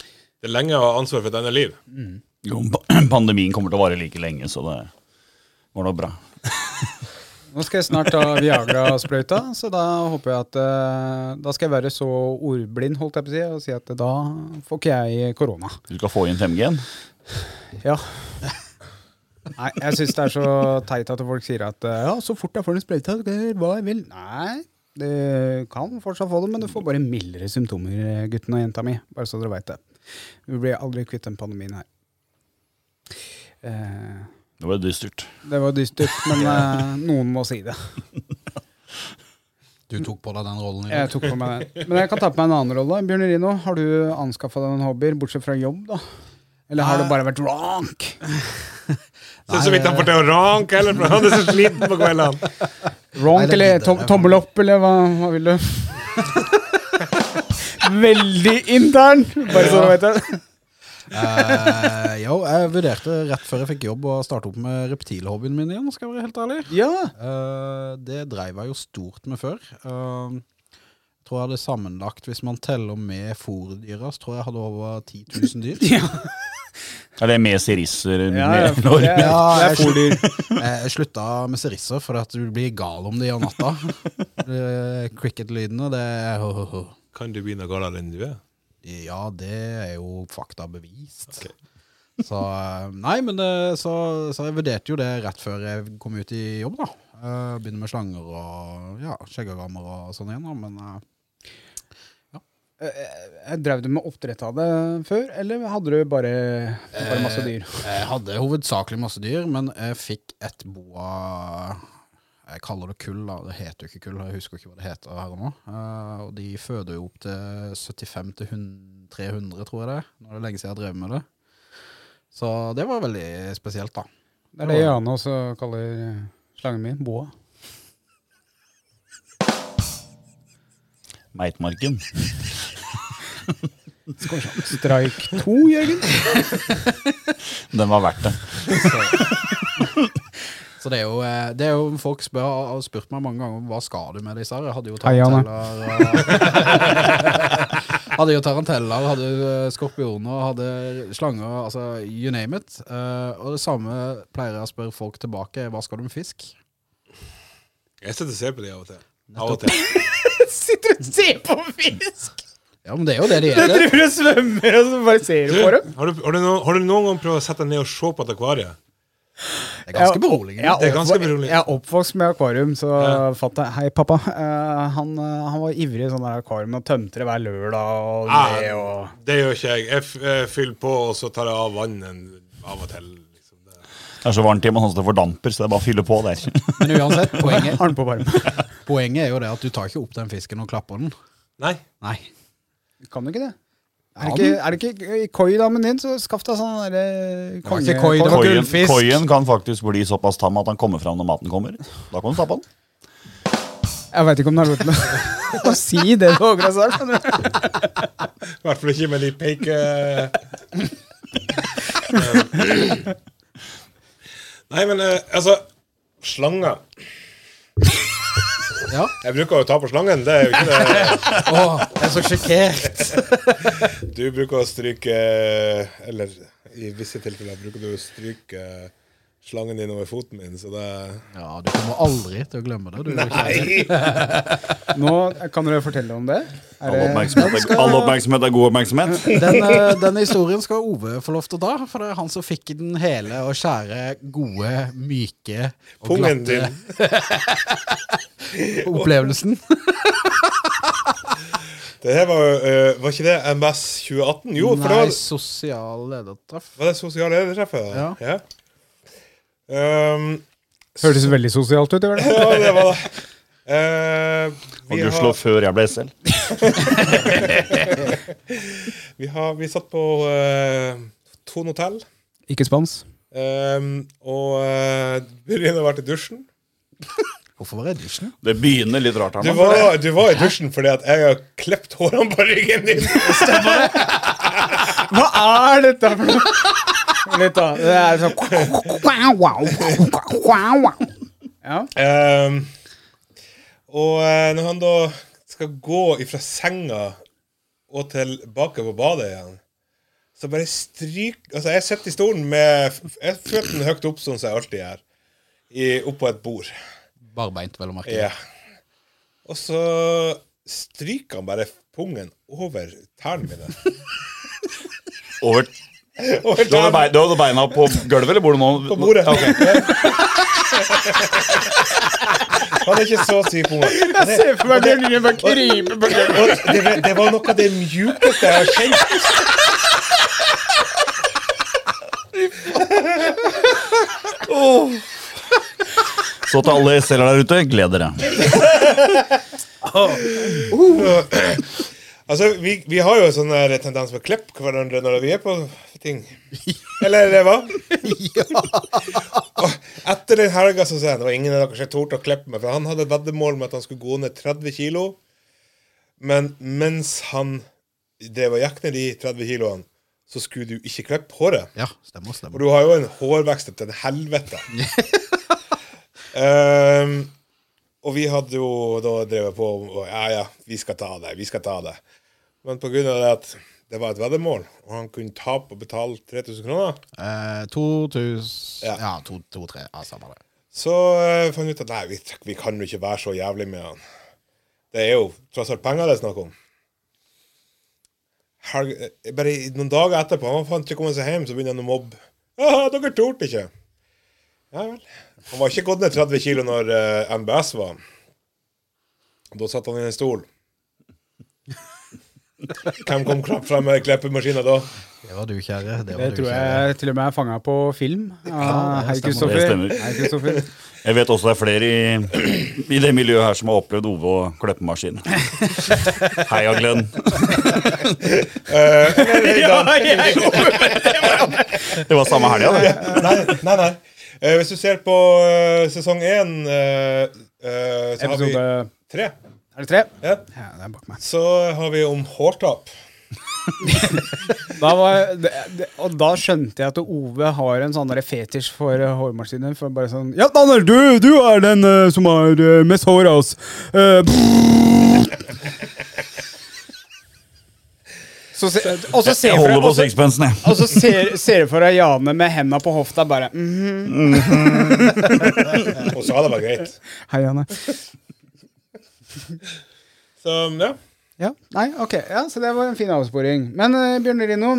Speaker 2: Det er lenge å ha ansvar for denne liv.
Speaker 3: Jo, pa- pandemien kommer til å vare like lenge, så det går nok bra.
Speaker 1: Nå skal jeg snart ta Viagra-sprøyta, så da håper jeg at eh, Da skal jeg være så ordblind, holdt jeg på å si, og si at da får ikke jeg korona.
Speaker 3: Du skal få inn 5G-en.
Speaker 1: Ja. Nei, jeg syns det er så teit at folk sier at eh, ja, så fort jeg får den sprøyta, så kan jeg gjøre hva jeg vil. Nei, du kan fortsatt få det, men du får bare mildere symptomer, eh, gutten og jenta mi. Bare så dere veit det. Vi blir aldri kvitt den pandemien her. Eh,
Speaker 3: Det var dystert.
Speaker 1: det var dystert, men eh, noen må si det.
Speaker 5: Du tok på deg den rollen i
Speaker 1: Jeg
Speaker 5: dag.
Speaker 1: tok på meg den. Men jeg kan ta på meg en annen rolle. Bjørn Rino, har du anskaffa deg en hobby, bortsett fra jobb, da? Eller har du bare vært rank?
Speaker 2: Så, så vidt han får til å ranke, eller for han er så sliten på kveldene.
Speaker 1: Wrong
Speaker 5: Nei, det er
Speaker 1: eller
Speaker 5: litt
Speaker 1: tom,
Speaker 5: der, ja.
Speaker 1: tommel opp, eller hva, hva vil du? Veldig intern, bare så du vet det.
Speaker 5: Eh, jo, jeg vurderte rett før jeg fikk jobb å starte opp med reptilhobbyen min igjen, skal jeg være helt ærlig.
Speaker 1: Ja.
Speaker 5: Eh, det dreiv jeg jo stort med før. Eh, jeg tror jeg hadde sammenlagt, hvis man teller med fòrdyra, så tror jeg jeg hadde over 10 000 dyr.
Speaker 3: Er det med sirisser?
Speaker 1: Ja,
Speaker 3: med-
Speaker 1: det er-
Speaker 5: Ja,
Speaker 1: det er
Speaker 5: jeg, slu-
Speaker 1: fôrdyr.
Speaker 5: Eh, jeg slutta med serisser fordi at du blir gal om det om natta. Eh, Cricket-lydene, det er
Speaker 2: Kan du bli noe galere enn du er?
Speaker 5: Ja, det er jo fakta bevist. Så eh, Nei, men det, så, så jeg vurderte jo det rett før jeg kom ut i jobb, da. Eh, Begynne med slanger og ja, skjeggerammer og sånn igjen, da. Men eh,
Speaker 1: Jeg Drev du med oppdrett av det før, eller hadde du bare, bare masse dyr?
Speaker 5: jeg hadde hovedsakelig masse dyr, men jeg fikk et boa Jeg kaller det kull, da. Det heter jo ikke kull, jeg husker ikke hva det heter her og nå. Eh, og de føder jo opp til 75 til 100 300, tror jeg det. er. Nå er det lenge siden jeg har drevet med det. Så det var veldig spesielt, da.
Speaker 1: Det er det Jane også kaller slangen min, boa.
Speaker 3: Meitmarken.
Speaker 1: Strike 2, Jørgen.
Speaker 3: Den var verdt det.
Speaker 5: Så det er jo, eh, det er jo folk spør, har spurt meg mange ganger hva skal du med disse her. Jeg hadde jo
Speaker 1: Eierne.
Speaker 5: taranteller og Hadde jo taranteller, hadde eh, skorpioner, hadde slanger, altså you name it. Eh, og det samme pleier jeg å spørre folk tilbake, hva skal du med fisk?
Speaker 2: Jeg sitter og ser på de av og til. Av og til.
Speaker 1: Sitter og ser på fisk!
Speaker 5: Ja, men det er jo det de
Speaker 1: Jeg
Speaker 5: er. det.
Speaker 1: driver og svømmer, og så bare ser du på dem.
Speaker 2: Har du, har, du noen, har du noen gang prøvd å sette deg ned og se på et akvarie?
Speaker 5: Det er ganske beroligende.
Speaker 1: Jeg
Speaker 2: Det er ganske
Speaker 1: oppvok-
Speaker 2: beroligende.
Speaker 1: Jeg er oppvokst med akvarium, så
Speaker 2: Ja.
Speaker 1: fatter jeg Hei, pappa. Eh, han, eh, han var ivrig i sånn der akvarium og tømte det hver lørdag. Og
Speaker 2: Ah,
Speaker 1: det, og...
Speaker 2: det gjør ikke jeg. Jeg, f jeg fyller på, og så tar jeg av vannet av og til. Liksom. Det-
Speaker 3: Det er så varmt hjemme hos oss det fordamper, så det er bare å fylle på der.
Speaker 5: Men uansett, poenget,
Speaker 1: Arne på varmen.
Speaker 5: poenget er jo det at du tar ikke opp den fisken og klapper den.
Speaker 2: Nei.
Speaker 5: Nei.
Speaker 1: Kan du ikke det? Er
Speaker 5: Ja,
Speaker 1: det ikke, er det ikke i koi-damen din, så skaff deg sånn derre
Speaker 5: var ikke koi, det var
Speaker 3: Koien,
Speaker 1: gullfisk.
Speaker 3: koien kan faktisk bli såpass tam at han kommer fram når maten kommer. Da kan du tappe han.
Speaker 1: Jeg veit ikke om den har lov til å- å si det du akkurat sa. skjønner du?
Speaker 2: I hvert fall ikke med de peike... Nei, men eh, altså Slanger.
Speaker 5: Ja.
Speaker 2: Jeg bruker å ta på slangen. Det er jo ikke det.
Speaker 5: Åh, jeg er så sjokkert.
Speaker 2: Du eh, bruker å stryke Eller i visse tilfeller bruker du å stryke slangen din over foten min, så det
Speaker 5: Ja, du kommer aldri til å glemme det. Du,
Speaker 2: Nei!
Speaker 1: Nå kan dere fortelle om det. Er
Speaker 3: All
Speaker 1: det
Speaker 3: oppmerksomhet, er, all oppmerksomhet er god oppmerksomhet.
Speaker 5: Den, eh, denne historien skal Ove få lov til å ta, for det er han som fikk den hele og skjære, gode, myke og
Speaker 2: Pungen
Speaker 5: glatte
Speaker 2: din.
Speaker 5: opplevelsen.
Speaker 2: Det her var, eh, var ikke det MS 2018? Jo, for det
Speaker 5: Nei,
Speaker 2: var
Speaker 5: sosial ledertreff.
Speaker 2: Var det sosiale ledertreffet? da?
Speaker 5: Ja.
Speaker 2: ja. Ehm,
Speaker 1: Hørtes veldig sosialt ut. gjør det?
Speaker 2: ja, det var det. Eh,
Speaker 3: Og
Speaker 2: vi,
Speaker 3: gudskjelov
Speaker 2: har,
Speaker 3: før jeg ble SL.
Speaker 2: vi, har, vi satt på uh, Thon hotell,
Speaker 1: Ikke spans.
Speaker 2: ehm, og uh, begynner å være i dusjen.
Speaker 5: Hvorfor var det dusjen?
Speaker 3: Det begynner litt rart her
Speaker 2: Du
Speaker 3: nå.
Speaker 2: var, du var i dusjen fordi at jeg har klippet hårene på ryggen din.
Speaker 1: Hva er dette for noe? Litt da. Det er sånn ja.
Speaker 2: Ehm, og eh, når han da skal gå ifra senga og tilbake på badet igjen, så bare stryk Altså, jeg sitter i stolen med f- jeg har føttene høyt opp, sånn som jeg alltid gjør, i- oppå et bord.
Speaker 5: Barbeint, vel å merke.
Speaker 2: Ja. Og så stryker han bare pungen over tærne mine.
Speaker 3: Over.
Speaker 2: Over
Speaker 3: Du
Speaker 2: tærne.
Speaker 3: hadde, beina, du hadde beina på gulvet, eller bor du nå?
Speaker 2: På bordet.
Speaker 3: Ja, ok.
Speaker 2: Han er ikke så stiv pungen.
Speaker 1: Jeg ser for meg Bjørn Lien bare krype på gulvet.
Speaker 2: Og det, var- det var noe av det mjukeste jeg har kjent.
Speaker 3: Så til alle SL-er der ute, gled dere.
Speaker 2: Altså, vi, vi har jo en sånn der tendens med å klippe hverandre når vi er på ting. Eller eh, hva? Og etter den helga så sa jeg det var ingen av dere som torde å klippe meg, for han hadde et veddemål med at han skulle gå ned 30 kilo. Men mens han drev og gikk ned de 30 kiloene, så skulle du ikke klippe håret.
Speaker 5: Ja, stemmer,
Speaker 2: Og
Speaker 5: stemmer.
Speaker 2: du har jo en hårvekst til en helvete. Ehm, og vi hadde jo da drevet på og ja, ja, vi skal ta det, vi skal ta det. Men på grunn av det at det var et veddemål, og han kunne tape og betale 3000 kroner,
Speaker 5: Eh, 2000
Speaker 2: Ja.
Speaker 5: Ja, 2-3. Ja, samme det.
Speaker 2: så eh, fant vi ut at nei, vi, vi kan jo ikke være så jævlig med han. Det er jo tross alt penger det er snakk om. Helg, eh, bare i- noen dager etterpå, han fant ikke kommet seg hjem, så begynner han å mobbe. «Ah, dere torde ikke! Ja vel. Han var ikke gått ned 30 kilo når eh, MBS var. Da satt han i en stol. Hvem kom knapt frem med klippemaskina da?
Speaker 5: Det var du, kjære. Det, var
Speaker 1: Det
Speaker 5: du,
Speaker 1: tror
Speaker 5: kjære.
Speaker 1: jeg til og med er fanga på film. Ah, Hei,
Speaker 3: Det
Speaker 1: Kristoffer.
Speaker 3: stemmer.
Speaker 1: Hei, Kristoffer.
Speaker 3: Jeg vet også det er flere i, i det miljøet her som har opplevd Ove og kløppemaskin. Heia Glenn.
Speaker 2: Eh, eller i dag.
Speaker 3: Det var samme helga, det.
Speaker 2: nei, nei, nei. Eh, hvis du ser på eh, sesong én, eh, eh, så har vi
Speaker 1: Episode
Speaker 2: tre.
Speaker 1: Er det tre?
Speaker 2: Ja.
Speaker 1: Ja, det er bak meg.
Speaker 2: Så har vi om hårtap.
Speaker 1: Da var, det, det, og da skjønte jeg at Ove har en sånn der fetisj for eh, hårmaskiner. For bare sånn Ja, Daniel, du, du er den eh, som har eh, mest hår av oss. Eh, så se, og så ser
Speaker 3: Jeg
Speaker 1: for deg-
Speaker 3: holder på
Speaker 1: og så-
Speaker 3: sixpensen, jeg.
Speaker 1: og så ser ser du for deg Jane med henda på hofta bare mm,
Speaker 2: Og så har det vært greit.
Speaker 1: Hei, Jane.
Speaker 2: Så ja.
Speaker 1: Ja, nei, ok. Ja, så det var en fin avsporing. Men eh, Bjørn Lino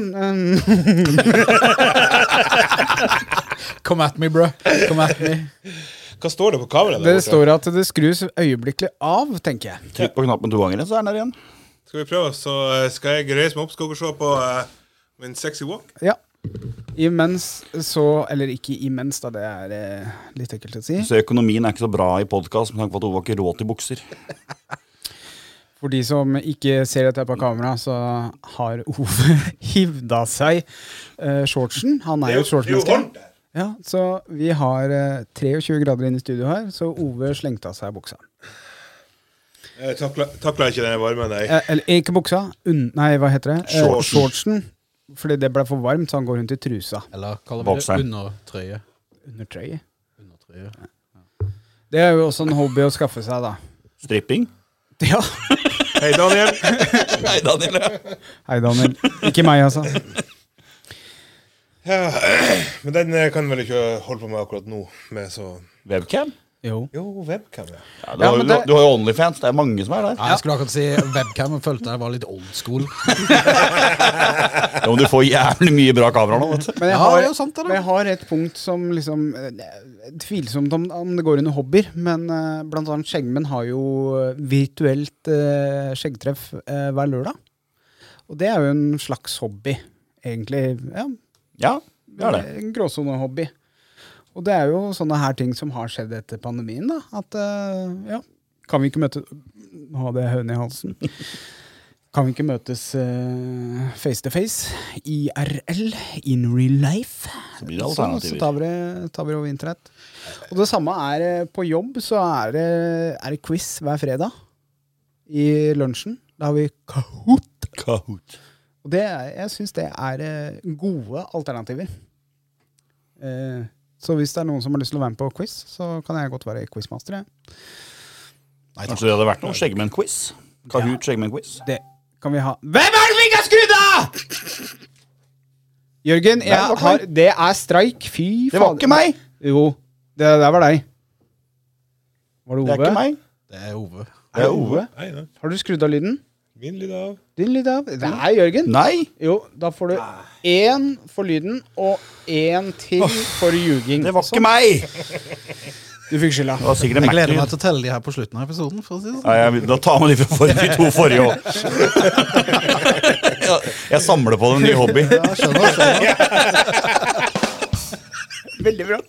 Speaker 1: eh,
Speaker 5: Come at me, bro. Come at me.
Speaker 2: Hva står det på kameraet? der
Speaker 1: Det
Speaker 2: borte?
Speaker 1: står at det skrus øyeblikkelig av, tenker jeg.
Speaker 3: Trykk på knappen to ganger, så er den der igjen.
Speaker 2: Skal vi prøve, så eh, skal jeg reise meg opp skal dere se på eh, min sexy walk.
Speaker 1: Ja. Imens så Eller ikke imens, da. Det er eh, litt ekkelt å si.
Speaker 3: Så økonomien er ikke så bra i podkast med tanke på at Ove har ikke råd til bukser.
Speaker 1: For de som ikke ser dette på kamera, så har Ove hivda seg eh, shortsen. Han er jo et shortsmenneske.
Speaker 2: varmt der.
Speaker 1: Ja, så vi har eh, 23 grader inne i studio her, så Ove slengte av seg buksa.
Speaker 2: Jeg takla- takla Eh, ikke den varmen, nei.
Speaker 1: Eh, eller ikke buksa. Unn, nei, hva heter det? Eh,
Speaker 3: Shortsen.
Speaker 1: shortsen. Fordi det ble for varmt, så han går rundt i trusa.
Speaker 5: Eller kaller vi det
Speaker 3: Bokseren.
Speaker 5: undertrøye.
Speaker 1: Under trøye.
Speaker 5: Undertrøye.
Speaker 1: Det er jo også en hobby å skaffe seg, da.
Speaker 3: Stripping.
Speaker 1: Ja.
Speaker 2: Hei, Daniel.
Speaker 3: Nei, Daniel.
Speaker 1: Hei, Daniel. Ikke meg, altså.
Speaker 2: Ja, men den eh, kan vel ikke holde på med akkurat nå, med så
Speaker 3: Webcam?
Speaker 1: Jo.
Speaker 2: Jo, webcam, ja.
Speaker 3: Ja, du,
Speaker 1: Ja,
Speaker 3: har,
Speaker 1: men
Speaker 3: jo-
Speaker 1: det-
Speaker 3: du har jo Onlyfans, det er mange som er der.
Speaker 5: Ja, jeg skulle akkurat si webcam, men følte jeg var litt old school.
Speaker 3: Ja, men du får jævlig mye bra kameraer nå, vet du.
Speaker 1: Men jeg
Speaker 5: Ja,
Speaker 1: har,
Speaker 5: det er jo sant, det da.
Speaker 1: men jeg har et punkt som liksom eh, Tvilsomt om, om det går under hobbyer, men eh, blant annet skjeggmenn har jo eh, virtuelt eh, skjeggtreff eh, hver lørdag. Og det er jo en slags hobby, egentlig. Ja,
Speaker 3: Ja, det er det.
Speaker 1: En gråsonehobby. Og det er jo sånne her ting som har skjedd etter pandemien, da. At eh, ja, kan vi ikke møte Nå hadde jeg høne i halsen. Kan vi ikke møtes eh, face to face? IRL, in real life.
Speaker 3: Så blir det
Speaker 1: Sånn, så
Speaker 3: alternativer.
Speaker 1: tar vi, det- tar vi det over internett. Og det samme er eh, på jobb, så er det, er det quiz hver fredag i lunsjen. Da har vi Kahoot. Og det, er- jeg syns det er eh, gode alternativer. Eh, så hvis det er noen som har lyst til å være med på quiz, så kan jeg godt være quizmaster. Jeg.
Speaker 3: Kanskje det hadde vært noe Skjeggmenn-quiz? Kahoot Skjeggmenn-quiz?
Speaker 1: Det kan vi ha. Hvem er det vi ikke har skrudd av?! Jørgen,
Speaker 3: det var
Speaker 1: jeg
Speaker 3: ikke
Speaker 1: har, det er streik. Fy faen.
Speaker 3: Det var ikke meg!
Speaker 1: Jo, det der var deg. Var det Ove?
Speaker 3: Det er ikke meg.
Speaker 5: Det er Ove.
Speaker 3: Det er Ove.
Speaker 2: Nei, nei.
Speaker 1: Har du skrudd av lyden?
Speaker 2: Min lyd av.
Speaker 1: Din lyd av. Det er Jørgen.
Speaker 3: Nei!
Speaker 1: Jo, da får du
Speaker 2: Ah.
Speaker 1: én for lyden og én til for ljuging.
Speaker 3: Det var ikke meg!
Speaker 1: Du fikk skylda.
Speaker 3: Det var sikkert en
Speaker 5: Jeg gleder meg
Speaker 3: Mac-lyd.
Speaker 5: til å telle de her på slutten av episoden. for å si det sånn.
Speaker 3: Nei, jeg- Da tar vi de fra forrige, de to forrige òg. Jeg samler på en ny hobby.
Speaker 5: Ja, skjønner, skjønner.
Speaker 1: Veldig bra.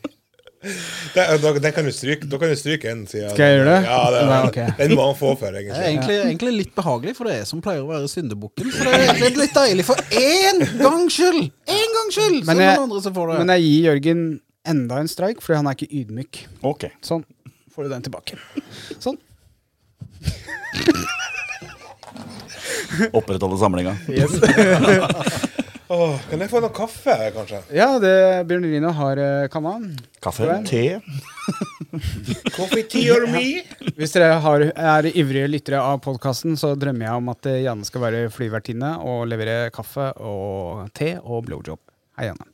Speaker 2: Da, da, den kan du stryke, da kan du stryke en, sier jeg.
Speaker 1: Skal jeg gjøre det?
Speaker 2: Ja, det,
Speaker 1: Nei, ok.
Speaker 2: Den må han få for,
Speaker 5: Det er
Speaker 2: egentlig.
Speaker 5: egentlig, egentlig litt behagelig, for det er jeg som pleier å være syndebukken. Så det er litt, litt deilig for én gangs skyld! Én gangs skyld! Så
Speaker 1: Men
Speaker 5: er det
Speaker 1: jeg-
Speaker 5: noen andre som får det.
Speaker 1: Men jeg gir Jørgen enda en streik, fordi han er ikke ydmyk.
Speaker 3: Ok.
Speaker 1: Sånn. Får du den tilbake. Sånn.
Speaker 3: Opprettholde samlinga.
Speaker 2: Åh, kan jeg få noe kaffe, kanskje?
Speaker 1: Ja, det Bjørn Rino har eh, kanna.
Speaker 3: Kaffe, te
Speaker 2: Coffee, tea or me?
Speaker 1: Hvis dere har, er ivrige lyttere av podkasten, så drømmer jeg om at eh, Janne skal være flyvertinne og levere kaffe og te og blowjob. Hei, Janne.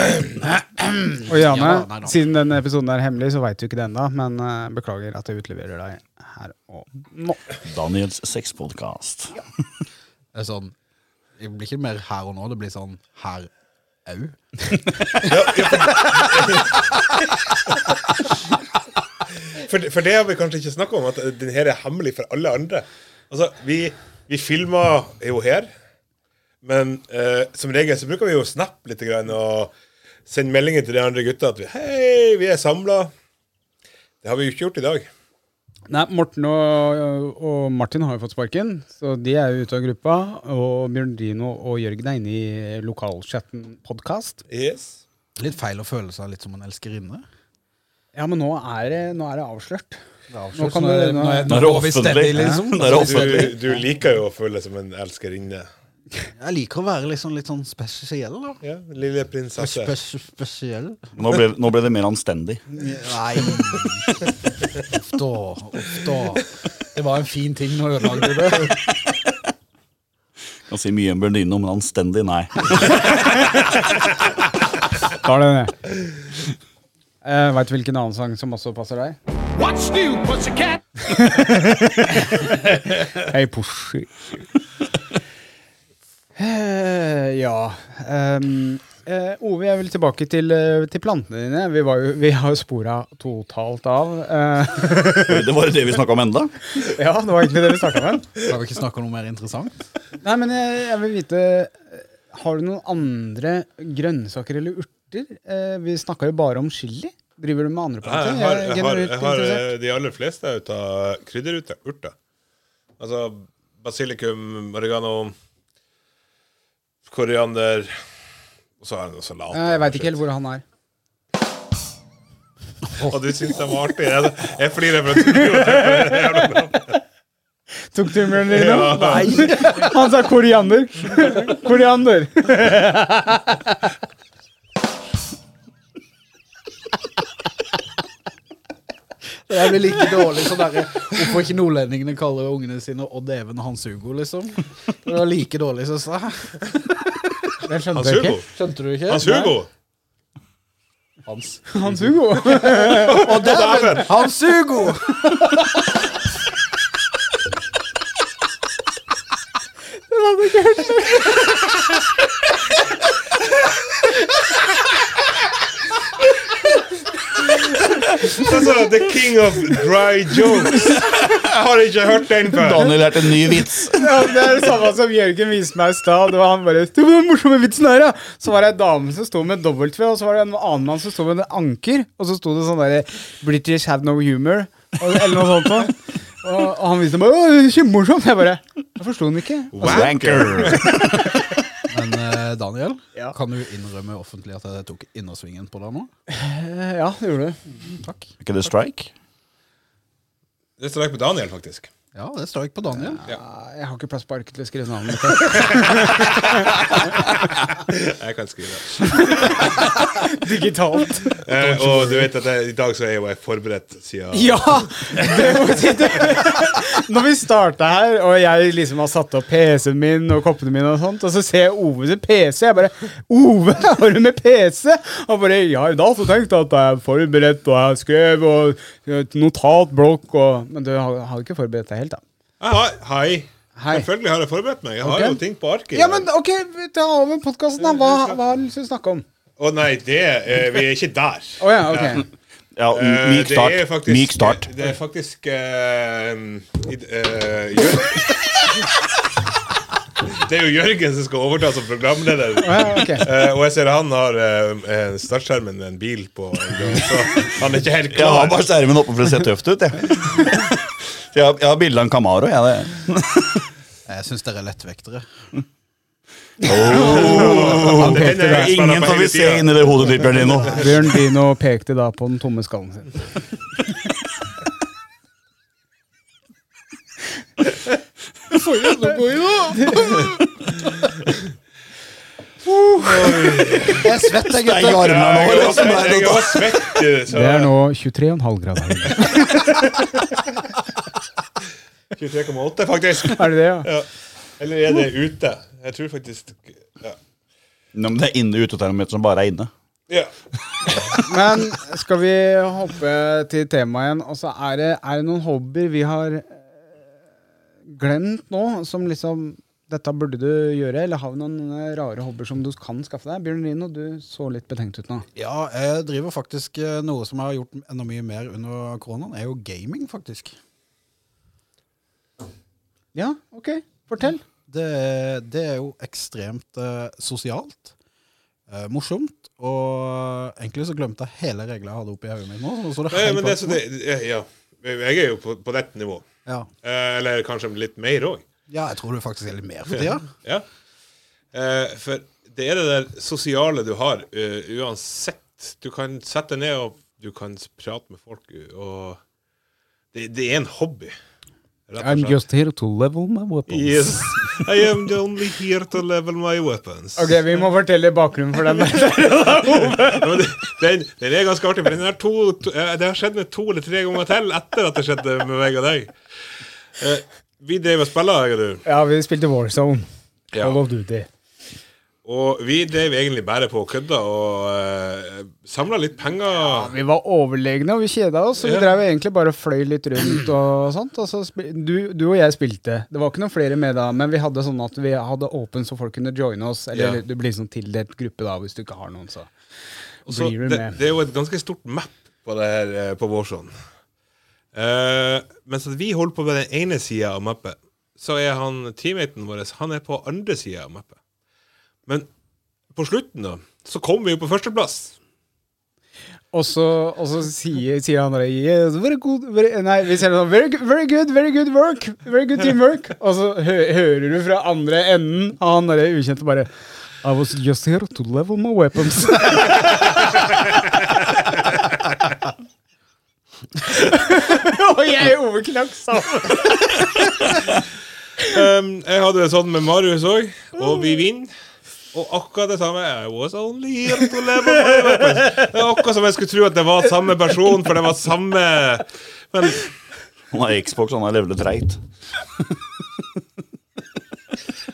Speaker 1: og Janne,
Speaker 5: Ja, nei da.
Speaker 1: siden denne episoden er hemmelig, så veit du ikke det ennå, men eh, beklager at jeg utleverer deg her og nå.
Speaker 3: Daniels sexpodkast.
Speaker 5: Det er sånn Det blir ikke mer her og nå, det blir sånn her au.
Speaker 2: For, for det har vi kanskje ikke snakka om, at den her er hemmelig for alle andre. Altså, vi, vi filmer jo her, men eh, som regel så bruker vi jo Snap litt grann, og sende meldinger til de andre gutta at vi, hei, vi er samla. Det har vi jo ikke gjort i dag.
Speaker 1: Nei, Morten og, og Martin har jo fått sparken, så de er jo ute av gruppa. Og Bjørn Dino og Jørgen er inne i lokalchatten podkast.
Speaker 2: Yes.
Speaker 5: Litt feil å føle seg litt som en elskerinne.
Speaker 1: Ja, men nå er det, nå er det avslørt.
Speaker 5: Nå
Speaker 1: kan du-
Speaker 5: er-
Speaker 1: nå-
Speaker 5: nå
Speaker 3: Nå er
Speaker 5: er- nå
Speaker 3: det
Speaker 5: går vi steady,
Speaker 3: offentlig.
Speaker 5: liksom.
Speaker 3: Nå er det
Speaker 2: Du,
Speaker 3: offentlig.
Speaker 2: du liker jo å føle deg som en elskerinne.
Speaker 5: Jeg liker å være liksom litt sånn spesiell, da.
Speaker 2: Ja, lille prinsesse.
Speaker 5: Spes spesiell?
Speaker 3: Nå ble, nå ble det mer anstendig.
Speaker 5: Nei Uff da. Uff da. Det var en fin ting nå ødelagde du det.
Speaker 3: Kan si mye om Bernardino, men anstendig, nei.
Speaker 1: Tar det ned. Uh, Veit du hvilken annen sang som også passer deg?
Speaker 4: What's new, pussycat?
Speaker 1: Hei, Pushy. Eh, ja ehm, eh, Ove, jeg vil tilbake til, eh, til plantene dine. Vi, var jo, vi har jo spora totalt av. Eh,
Speaker 3: Oi, Det var jo det vi snakka om enda.
Speaker 1: ja, det var egentlig det vi starta med.
Speaker 5: Skal vi ikke snakke om noe mer interessant?
Speaker 1: Nei, men jeg, jeg vil vite eh, Har du noen andre grønnsaker eller urter? Eh, vi snakka jo bare om chili. Driver du med andre
Speaker 2: Nei,
Speaker 1: planter?
Speaker 2: Jeg har, jeg har,
Speaker 1: generelt
Speaker 2: jeg har eh,
Speaker 1: interessert.
Speaker 2: de aller fleste ut av krydderurter. Altså basilikum, oregano, koriander Og så har jeg noe salat.
Speaker 1: Eh, jeg veit ikke helt hvor han er.
Speaker 2: Og du syns de var artige? Jeg, jeg flirer for at du gjorde det.
Speaker 1: Tok du med den?
Speaker 2: Ja.
Speaker 1: Nei! Han sa koriander. Koriander.
Speaker 5: Det der blir like dårlig som derre Hvorfor ikke nordlendingene kaller ungene sine Odd Even og Hans Hugo, liksom? Det var like dårlig, syns jeg.
Speaker 1: Det skjønte
Speaker 2: Hans
Speaker 1: jeg
Speaker 2: Hugo.
Speaker 1: ikke.
Speaker 5: Skjønte du ikke?
Speaker 2: Hans Hugo!
Speaker 5: Nei, Hans.
Speaker 1: Hans Hugo.
Speaker 5: Odd Even! Hans Hugo!
Speaker 2: Altså, the king of dry jokes. Jeg har ikke hørt den før.
Speaker 3: Daniel lærte en ny vits.
Speaker 1: Ja, det er det samme som Jørgen viste meg i stad. Det var han bare «Du, den morsomme vitsen her, ja. Så var det ei dame som sto med W, og så var det en annen mann som sto med en anker, og så sto det sånn derre British have no humor, og, eller noe sånt noe. Og, og han viste meg «Å, kjempemorsomt. Jeg bare Jeg forsto den ikke.
Speaker 3: Wanker.
Speaker 5: Men eh, Daniel,
Speaker 1: Ja.
Speaker 5: kan du innrømme offentlig at jeg tok innersvingen på deg nå?
Speaker 1: Eh, Ja, det gjorde du.
Speaker 5: Takk.
Speaker 3: Er ikke det strike?
Speaker 2: Det står ikke på Daniel, faktisk.
Speaker 5: Ja, det står ikke på Daniel.
Speaker 1: Nei, Jeg har ikke plass på arket til å skrive navnet mitt.
Speaker 2: Jeg kan skrive det.
Speaker 1: Digitalt.
Speaker 2: Eh, og du vet at jeg, i dag så er jo jeg forberedt siden
Speaker 1: Ja! Det må si det. Når vi starta her, og jeg liksom har satt opp PC-en min og koppene mine, og sånt, og så ser jeg Ove sin PC. Jeg bare 'Ove, har du med PC?' Han bare 'Ja, i dag så tenkte jeg at jeg er forberedt, og jeg skrev og eh, et notatblokk og Men du har, har ikke forberedt deg helt, da.
Speaker 2: Jeg har- Hei.
Speaker 1: Ah. Hei.
Speaker 2: Selvfølgelig har jeg forberedt meg. Jeg har
Speaker 1: Ok.
Speaker 2: jo ting på arket. i
Speaker 1: Ja,
Speaker 2: dag.
Speaker 1: men OK, ta over podkasten, da. Hva, hva har du lyst til å snakke om?
Speaker 2: Å nei, det eh, Vi er ikke der.
Speaker 1: Å ja, OK.
Speaker 3: Ja,
Speaker 2: Eh,
Speaker 3: myk
Speaker 2: det
Speaker 3: start.
Speaker 2: er faktisk-
Speaker 3: myk start.
Speaker 2: Det, det er faktisk eh, i, eh, Jør- Det er jo Jørgen som skal overta som programleder.
Speaker 1: Å, ja, ok.
Speaker 2: Eh, og jeg ser han har eh, eh, startskjermen med en bil på. Så han er ikke helt
Speaker 3: Jeg har
Speaker 2: klar.
Speaker 3: bare skjermen oppe for å se tøft ut, jeg. Så Jeg har, jeg har bilde av en Camaro. Jeg, det.
Speaker 5: Jeg syns dere er lettvektere.
Speaker 2: Han er-
Speaker 1: Det er
Speaker 2: jeg spenner
Speaker 3: Ingen
Speaker 2: på
Speaker 3: som
Speaker 2: hele
Speaker 3: vil se
Speaker 2: tiden.
Speaker 3: inn i det hodet ditt, Bjørn Lino.
Speaker 1: Bjørn Dino pekte da på den tomme skallen sin.
Speaker 5: Jeg er svett, jeg,
Speaker 3: Steik
Speaker 5: gutter.
Speaker 3: armene nå,
Speaker 2: Jeg er
Speaker 3: liksom.
Speaker 2: også- Jeg er også svett, du, så
Speaker 1: Det er nå 23,5 grader.
Speaker 2: 23,8, faktisk.
Speaker 1: Er det det, ja?
Speaker 2: Ja. Eller er det ute? Jeg tror faktisk Ja.
Speaker 3: Nå, men det er inne utetermometer som bare er inne.
Speaker 2: ja.
Speaker 1: Men skal vi hoppe til temaet igjen? Og så er det, er det noen hobbyer vi har eh, glemt nå, som liksom dette burde du gjøre, eller har vi noen eh, rare hobbyer som du kan skaffe deg? Bjørn Rino, du så litt betenkt ut nå.
Speaker 5: Ja, jeg driver faktisk eh, noe som jeg har gjort enda mye mer under koronaen, er jo gaming, faktisk.
Speaker 1: Ja, ok. Fortell.
Speaker 5: Det, er- det er jo ekstremt eh, sosialt, eh, morsomt, og egentlig så glemte jeg hele regla jeg hadde oppi hodet mitt nå. Så nå står det
Speaker 2: Nei,
Speaker 5: helt
Speaker 2: men det, er
Speaker 5: bak
Speaker 2: så
Speaker 5: nå.
Speaker 2: det, ja. Jeg er jo på, på dette nivå.
Speaker 5: ja.
Speaker 2: Eh, eller kanskje litt mer òg.
Speaker 5: ja, jeg tror det faktisk er litt mer for tida.
Speaker 2: Ja. Eh, for det er det der sosiale du har eh, uansett. Du kan sette deg ned og du kan s- prate med folk. eh, Og det, det er en hobby. rett og slett.
Speaker 1: here to level my weapons.
Speaker 2: Yes. I am only here to level my weapons.
Speaker 1: Ok, vi må fortelle bakgrunnen for den. der.
Speaker 2: Ja, men det- den, den er ganske artig, for den har to, to, eh, det har skjedd med to eller tre ganger til etter at det skjedde med meg og deg. Eh, vi drev og spilla, jeg og du.
Speaker 1: Ja, vi spilte Warzone. Call of Duty.
Speaker 2: Og vi drev egentlig bare på og kødda og uh, samla litt penger.
Speaker 1: Vi var overlegne, og vi kjeda oss. Så vi
Speaker 2: Ja.
Speaker 1: drev egentlig bare og fløy litt rundt og sånt. Og så spil du, du og jeg spilte. Det var ikke noen flere med da, men vi hadde sånn at vi hadde åpen så folk kunne joine oss. Eller
Speaker 2: Ja.
Speaker 1: du blir sånn tildelt gruppe da, hvis du ikke har noen, så
Speaker 2: Og så
Speaker 1: blir du
Speaker 2: det,
Speaker 1: med.
Speaker 2: det er jo et ganske stort map på det her eh, på Warzone. Eh, mens at vi holder på med den ene sida av mappet, så er han teammaten vår han er på andre sida av mappet. Men på slutten, da, så kom vi jo på førsteplass.
Speaker 1: Og så, og så sier, sier han der yes, very good, very, Nei, vi sier sånn very, good- very good, very good work. Very good teamwork. Og så hø hører du fra andre enden av han derre ukjente bare I was just here to level my weapons. og jeg overknakk sammen.
Speaker 2: Ehm, jeg hadde det sånn med Marius òg, og vi vinner. Og akkurat det samme. I was only here to live my life. Det er akkurat som jeg skulle tro at det var samme person, for det var samme
Speaker 3: Han har Xbox, han har levelet treigt.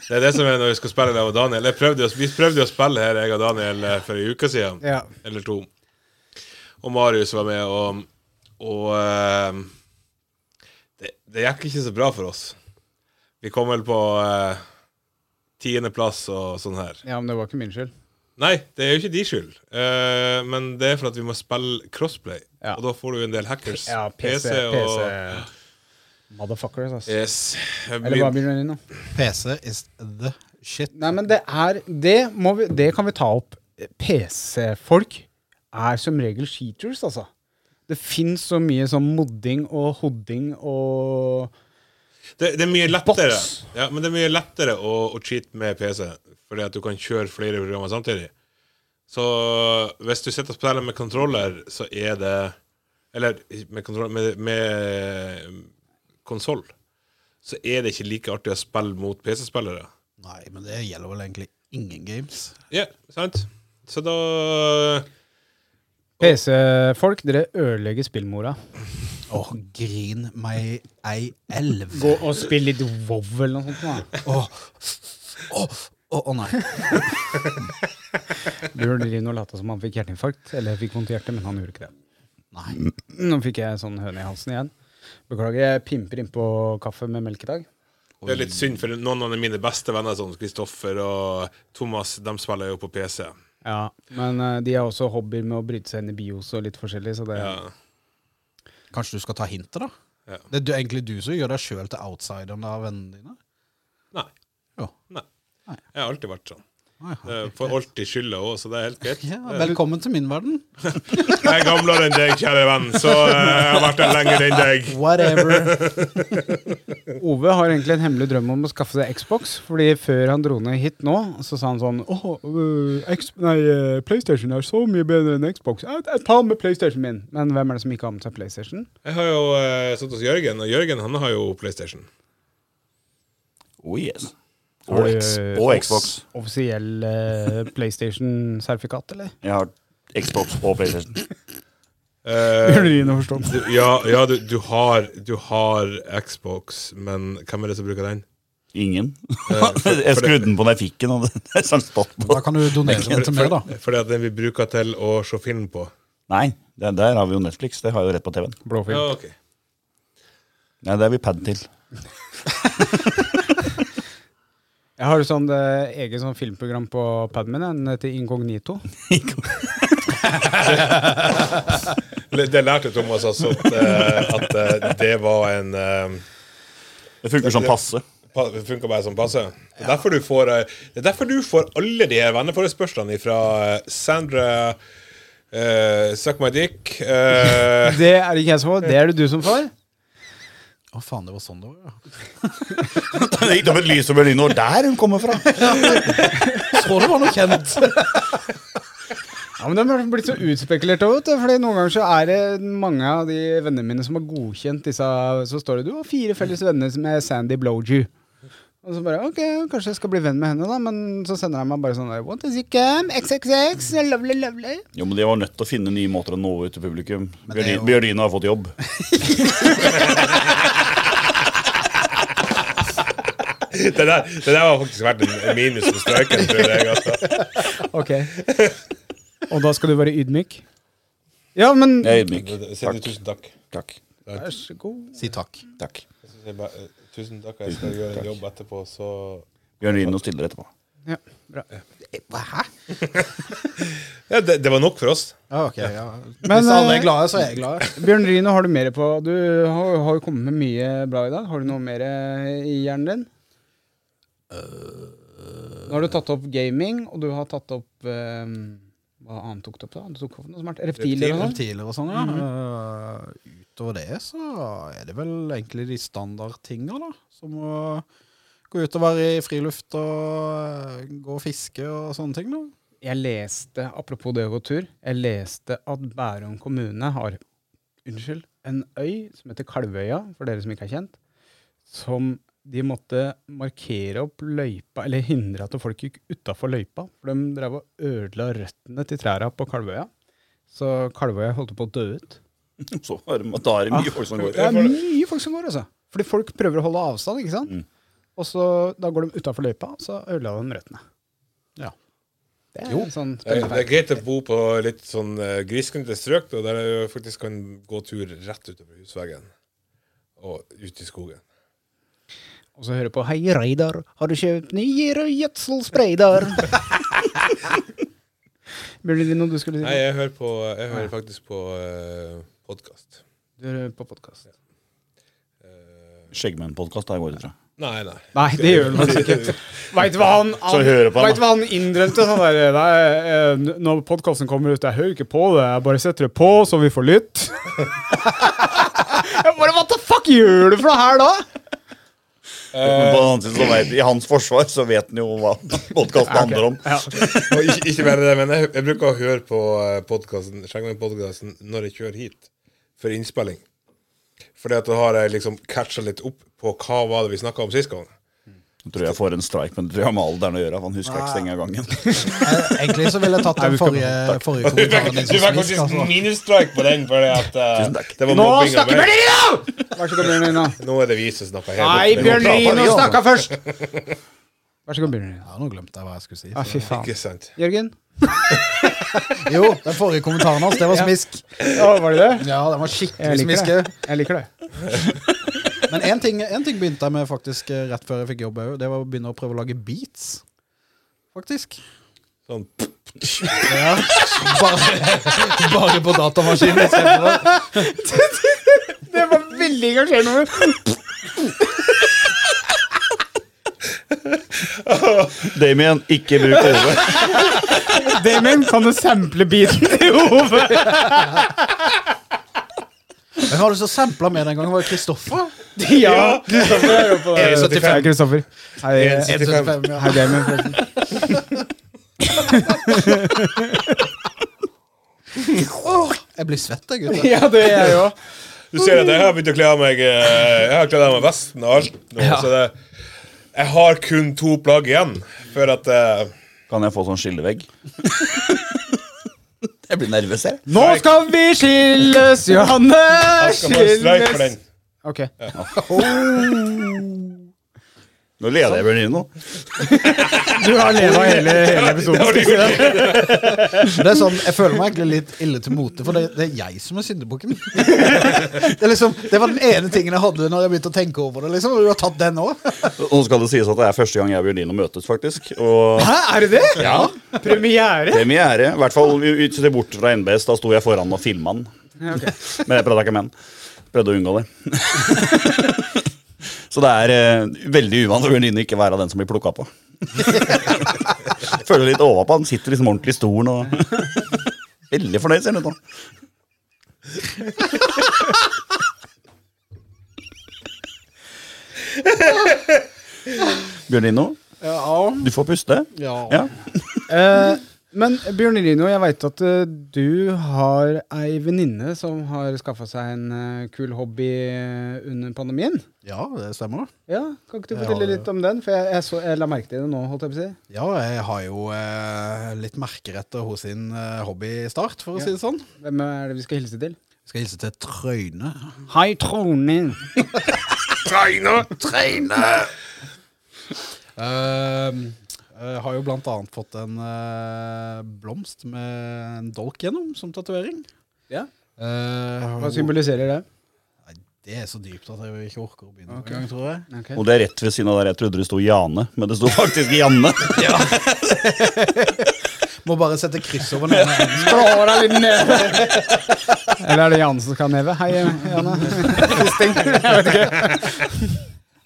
Speaker 2: Det er det som er når vi skal spille det og Daniel. Jeg prøvde, jo- vi prøvde jo å spille her, jeg og Daniel, eh, for en uke siden.
Speaker 1: Ja.
Speaker 2: Eller to. Og Marius var med, og, og eh, det, det gikk ikke så bra for oss. Vi kom vel på eh, tiendeplass og sånn her.
Speaker 1: Ja, men det var ikke min skyld.
Speaker 2: Nei, det er jo ikke de skyld. Eh, men det er for at vi må spille crossplay.
Speaker 1: Ja.
Speaker 2: Og da får du en del hackers.
Speaker 1: Ja, PC,
Speaker 2: og
Speaker 1: PC Motherfuckers, altså.
Speaker 2: Yes.
Speaker 1: Eller hva blir det nå?
Speaker 5: PC is the shit.
Speaker 1: Nei, men det er Det, må vi, det kan vi ta opp. PC-folk er som regel cheaters, altså. Det fins så mye sånn modding og hodding og
Speaker 2: Det, det er mye lettere
Speaker 1: Bots.
Speaker 2: Ja, men det er mye lettere å, å cheate med PC, fordi at du kan kjøre flere programmer samtidig. Så hvis du sitter og spiller med controller, så er det Eller med, kontroll- med, med konsoll, så er det ikke like artig å spille mot PC-spillere.
Speaker 5: Nei, men det gjelder vel egentlig ingen games.
Speaker 2: Ja, sant? Så da
Speaker 1: PC-folk, dere ødelegger spillmora.
Speaker 5: Å, grin meg ei elv.
Speaker 1: Gå og spill litt WoW eller noe sånt. da.
Speaker 5: Å, å, å, å nei.
Speaker 1: Bjørn Rino lata som han fikk hjerteinfarkt, eller fikk vondt i hjertet, men han gjorde ikke det.
Speaker 5: Nei.
Speaker 1: Nå fikk jeg sånn høne i halsen igjen. Beklager, jeg pimper innpå kaffe med melk i dag.
Speaker 2: Det er litt synd, for noen av mine beste venner, sånn som Kristoffer og Thomas, de spiller jo på PC.
Speaker 1: Ja, Men eh, de har også hobbyer med å bryte seg inn i bios og litt forskjellig, så det
Speaker 2: Ja.
Speaker 5: Kanskje du skal ta hintet, da?
Speaker 2: Ja.
Speaker 5: Det er du, egentlig du som gjør deg sjøl til outsideren av vennene dine?
Speaker 2: Nei.
Speaker 5: Jo.
Speaker 2: Nei.
Speaker 5: Nei.
Speaker 2: Jeg har alltid vært sånn.
Speaker 5: Nei, ja.
Speaker 2: Jeg får alltid skylda òg, så det er helt greit.
Speaker 5: Ja, velkommen til min verden.
Speaker 2: Jeg er gamlere enn deg, kjære venn, så eh, jeg har vært der lenger enn deg.
Speaker 5: Whatever.
Speaker 1: Ove har egentlig en hemmelig drøm om å skaffe seg Xbox. Fordi før han dro ned hit nå, så sa han sånn Åh, øh, X nei, øh, PlayStation er så mye bedre enn Xbox. Jeg, jeg tar med PlayStation min. Men hvem er det som ikke har med seg PlayStation?
Speaker 2: Jeg har jo uh, satt hos Jørgen, og Jørgen han har jo PlayStation.
Speaker 3: Oh yes. Og, X og Xbox.
Speaker 1: Offisiell eh, PlayStation-sertifikat, eller?
Speaker 3: Jeg har Xbox og PlayStation.
Speaker 2: Eh,
Speaker 1: Rune forstår.
Speaker 2: du, ja, ja du, du, har, du har Xbox, men hvem er det som bruker den?
Speaker 3: Ingen. Jeg skrudde den på da jeg fikk den, og det er sånn stått på.
Speaker 5: Da kan du donere den til meg, da.
Speaker 2: Fordi at den vi bruker til å se film på.
Speaker 3: Nei, der, der har vi jo Netflix. Det har jeg jo rett på TV-en.
Speaker 1: Blåfilm.
Speaker 2: Ja, Ah, ok.
Speaker 3: Nei, det er vi pad til.
Speaker 1: Jeg har jo sånn eh, eget sånn filmprogram på paden min. Den heter Incognito.
Speaker 2: Le- Det lærte Thomas altså at, eh, at eh, det var en eh,
Speaker 3: Det funker sånn passe.
Speaker 2: pa- Det funker bare som passe. Det er derfor du får, eh, det er derfor du får alle de her venneforespørslene fra Sandra eh, Suck my dick. eh,
Speaker 1: Det er ikke jeg som får, det er det du som får.
Speaker 5: Å faen, det var sånn det var, ja.
Speaker 3: Det gikk opp et lys over Lino. Der hun kommer fra!
Speaker 5: Så det var noe kjent.
Speaker 1: Ja, men De har blitt så utspekulerte òg, vet du. Fordi noen ganger så er det mange av de vennene mine som har godkjent disse Så står det du har fire felles venner med Sandy Bloju. Og så bare OK, kanskje jeg skal bli venn med henne, da. Men så sender han meg bare sånn der What is it, Cam? XXX? Lovely, lovely.
Speaker 3: Jo, men De var nødt til å finne nye måter å nå ut til publikum.
Speaker 5: det er
Speaker 3: Bjørn-
Speaker 5: jo-
Speaker 3: Bjørnino har fått jobb.
Speaker 2: det, der, det der var faktisk verdt en en minus på strøken, tror jeg. Altså.
Speaker 1: OK. Og da skal du være ydmyk? Ja, men
Speaker 3: Jeg er ydmyk.
Speaker 2: Sier du tusen takk?
Speaker 3: Takk.
Speaker 1: Vær så god.
Speaker 5: Si takk.
Speaker 3: Takk.
Speaker 2: Jeg synes jeg bare, eh, Tusen takk, jeg skal gjøre en jobb etterpå, så
Speaker 3: Bjørnino stiller etterpå.
Speaker 1: Ja, bra.
Speaker 5: Hæ?
Speaker 2: Ja, det, det var nok for oss.
Speaker 5: Ja, ok, ja.
Speaker 1: Men,
Speaker 5: Hvis alle
Speaker 1: eh,
Speaker 5: er glade, så er jeg glad.
Speaker 1: Bjørn Rino, har du mer på Du har, har jo kommet med mye bra i dag. Har du noe mer eh, i hjernen din? Nå har du tatt opp gaming, og du har tatt opp eh, Hva annet tok du opp, da? Du tok opp noe smart. Reptiler og sånn?
Speaker 5: Reptiler og sånn, ja. Eh, utover det så er det vel egentlig de standardtinga, da. Som å gå ut og være i friluft og eh, gå og fiske og sånne ting, da.
Speaker 1: Jeg leste, apropos det å gå tur, jeg leste at Bærum kommune har unnskyld, en øy som heter Kalvøya, for dere som ikke er kjent, som de måtte markere opp løypa, eller hindre at folk gikk utafor løypa, for de drev og ødela røttene til trærne på Kalvøya. Så Kalvøya holdt på å dø ut.
Speaker 3: Så er det, da er det mye folk som går.
Speaker 1: Det er mye folk som går, altså. Fordi folk prøver å holde avstand, ikke sant. Og så da går de utafor løypa, så ødela de røttene.
Speaker 5: Ja.
Speaker 1: Det er sånn
Speaker 2: Det er, det er greit å bo på litt sånn eh, grisgrendte strøk, da, der jeg faktisk kan gå tur rett utover husveggen og ut i skogen.
Speaker 1: Og så hører jeg på Hei, Reidar, har du kjøpt nye gjødselspray der? Burde det noe du skulle si?
Speaker 2: Nei, jeg hører, på, jeg hører faktisk på uh, podkast.
Speaker 1: Du hører på podkast.
Speaker 3: Skjeggmenn-podkast der går det, tror jeg.
Speaker 2: Nei, nei.
Speaker 1: Nei, det gjør han altså ikke. Veit hva han,
Speaker 3: Så
Speaker 1: han,
Speaker 3: hører på han,
Speaker 1: vet hva han innrømte? Sånn der, nei, eh, når podkasten kommer ut, jeg hører ikke på det, jeg bare setter det på så vi får lytt. jeg bare, What the fuck gjør du for noe her da?
Speaker 3: Men på den andre siden så vet, I hans forsvar så vet han jo hva podkasten handler om.
Speaker 1: Ja.
Speaker 2: Og ikke, ikke bare det, men jeg, jeg bruker å høre på eh, podkasten Skjeggmenn-podkasten når jeg kjører hit for innspilling. Fordi at da har jeg liksom catcha litt opp på hva var det vi snakka om sist gang.
Speaker 3: Jeg tror jeg får en strike, men det tror jeg har med alderen å gjøre. for Han husker ikke stenge av gangen.
Speaker 5: Eh, Egentlig så ville jeg tatt den forrige, forrige kommentaren din som smisk. Altså.
Speaker 2: minusstrike på den, fordi at
Speaker 3: takk.
Speaker 2: det var
Speaker 1: Nå
Speaker 2: mobbing av
Speaker 1: snakker Bjørn
Speaker 2: meg.
Speaker 1: Lino! Vær så god, Bjørn Lino.
Speaker 2: Nå er det vi som snakker helt
Speaker 1: Nei,
Speaker 2: opp.
Speaker 1: Bjørn Lino
Speaker 5: prate.
Speaker 1: snakka først. Vær så god, Bjørn Lino.
Speaker 5: Ja, nå glemte jeg hva jeg skulle si.
Speaker 1: Ja, fy faen.
Speaker 2: Ikke sant.
Speaker 1: Jørgen?
Speaker 5: Jo, den forrige kommentaren hans, det var smisk.
Speaker 1: Ja, var det det?
Speaker 5: Ja, den var
Speaker 1: Jeg
Speaker 5: skikkelig
Speaker 1: liker
Speaker 5: smiske.
Speaker 1: det. Jeg liker det.
Speaker 5: Men én ting, en ting begynte jeg med faktisk eh, rett før jeg fikk jobb òg. Det var å begynne å prøve å lage beats. Faktisk.
Speaker 2: Sånn.
Speaker 5: Ja. Bare, bare på datamaskinen. istedenfor.
Speaker 1: Det var veldig engasjerende.
Speaker 3: Damien, ikke bruk hodet.
Speaker 1: Damien, kan du sample biten til Ove?
Speaker 5: Hvem var det som sampla med den gangen? Var det Kristoffer?
Speaker 1: Ja, Kristoffer er jo på det.
Speaker 2: 75.
Speaker 1: Hei, Kristoffer. Hei,
Speaker 2: 75.
Speaker 5: 175, ja.
Speaker 1: hei Damien, forresten.
Speaker 5: Jeg blir svett, jeg, gutter.
Speaker 1: Ja, det er jeg òg.
Speaker 2: Du ser at jeg har begynt å kle av meg eh, Jeg har kledd av meg vesten og alt. Nå, Så det, jeg har kun to plagg igjen. For at eh,
Speaker 3: Kan jeg få sånn skillevegg? Jeg blir nervøs, jeg.
Speaker 1: Nå skal vi skilles, Johanne!
Speaker 2: jeg skal bare streike for den.
Speaker 1: Ok.
Speaker 3: Nå leder jeg Bjørn Lino.
Speaker 1: Du har leda hele, hele episoden. skal jeg si deg.
Speaker 5: Men det er sånn, Jeg føler meg egentlig litt ille til mote, for det, det er jeg som er syndebukken. Det, er liksom, det var den ene tingen jeg hadde når jeg begynte å tenke over det. liksom, og Du har tatt den òg.
Speaker 3: Nå skal det sies at det er første gang jeg og Bjørn Lino møtes, faktisk. Og
Speaker 1: Hæ, er det det? Ja. Premiere?
Speaker 3: premiere. I hvert fall vi- vi ser bort fra NBS. Da sto jeg foran og filma den. Men jeg prøvde ikke med den. Prøvde å unngå det. Så det er eh, veldig uvant å Bjørn Lino ikke være den som blir plukka på. Føler litt overpå. Han sitter liksom ordentlig i stolen og Veldig fornøyd, ser han ut nå. Bjørn Lino,
Speaker 5: Ja.
Speaker 3: du får puste.
Speaker 5: Ja.
Speaker 3: Ja.
Speaker 1: Eh, men Bjørn Rino, jeg veit at eh, du har ei venninne som har skaffa seg en eh, kul hobby eh, under pandemien.
Speaker 5: ja, det stemmer.
Speaker 1: Ja, Kan ikke du
Speaker 5: Jeg
Speaker 1: fortelle
Speaker 5: har-
Speaker 1: litt om den? For jeg, jeg, så, jeg la merke til det nå. holdt jeg på å si.
Speaker 5: Ja, jeg har jo eh, litt merker etter hos sin eh, hobbystart, for å si det sånn.
Speaker 1: Hvem er det vi skal hilse til?
Speaker 5: Jeg skal hilse til Trøyne.
Speaker 1: Hei, Trone.
Speaker 5: Ehm, jeg har jo blant annet fått en eh, blomst med en dolk gjennom som tatovering.
Speaker 1: Ja.
Speaker 5: Eh,
Speaker 1: Hva symboliserer det?
Speaker 5: Nei, det er så dypt at jeg ikke orker å begynne okay. engang, tror jeg.
Speaker 1: Ok.
Speaker 3: Og det er rett ved siden av der jeg trodde det sto Jane, men det sto faktisk Janne.
Speaker 5: Må bare sette kryss over den ene enden.
Speaker 1: Slår av litt neve. Eller er det Janne som skal ha neve? Hei, Janne.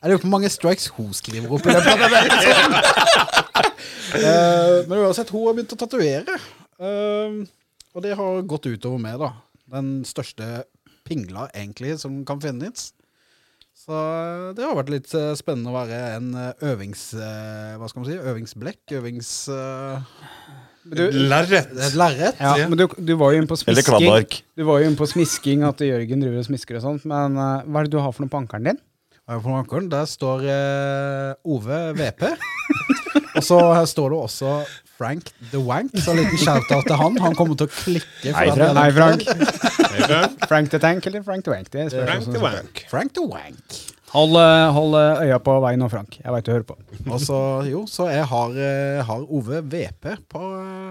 Speaker 5: Jeg lurer på hvor mange strikes hun skriver opp i den planen. der, altså. Eh, men uansett, hun har begynt å tatovere. Eh, og det har gått utover meg, da. Den største pingla, egentlig, som kan finnes. Så det har vært litt eh, spennende å være en eh, øvings... eh, hva skal man si? Øvingsblekk? Øvings... eh,
Speaker 2: Lerret.
Speaker 5: det er et lerret.
Speaker 1: Ja, men du, du var jo inne på
Speaker 3: Eller
Speaker 1: smisking.
Speaker 3: kladdark.
Speaker 1: Du var jo inne på smisking, at Jørgen driver og smisker og sånt. Men eh, hva er det du har for noe på ankeren din?
Speaker 5: Her på ankeren, Der står eh, Ove VP. og så her står det også Frank the Wank, så en liten shout-out til han. Han kommer til å klikke. for
Speaker 3: Hei,
Speaker 5: at
Speaker 3: Frank.
Speaker 5: jeg-
Speaker 1: Hei, Frank.
Speaker 2: Frank.
Speaker 1: Frank the Tank eller Frank the Wank? Det spørs
Speaker 2: Frank
Speaker 1: hvordan
Speaker 2: the
Speaker 1: du snakker.
Speaker 2: Wank.
Speaker 5: Frank the Wank.
Speaker 1: Hold, eh, hold eh, øya på vei nå, Frank. Jeg veit du hører på.
Speaker 5: Og så, jo, så jeg har, eh, har Ove VP på,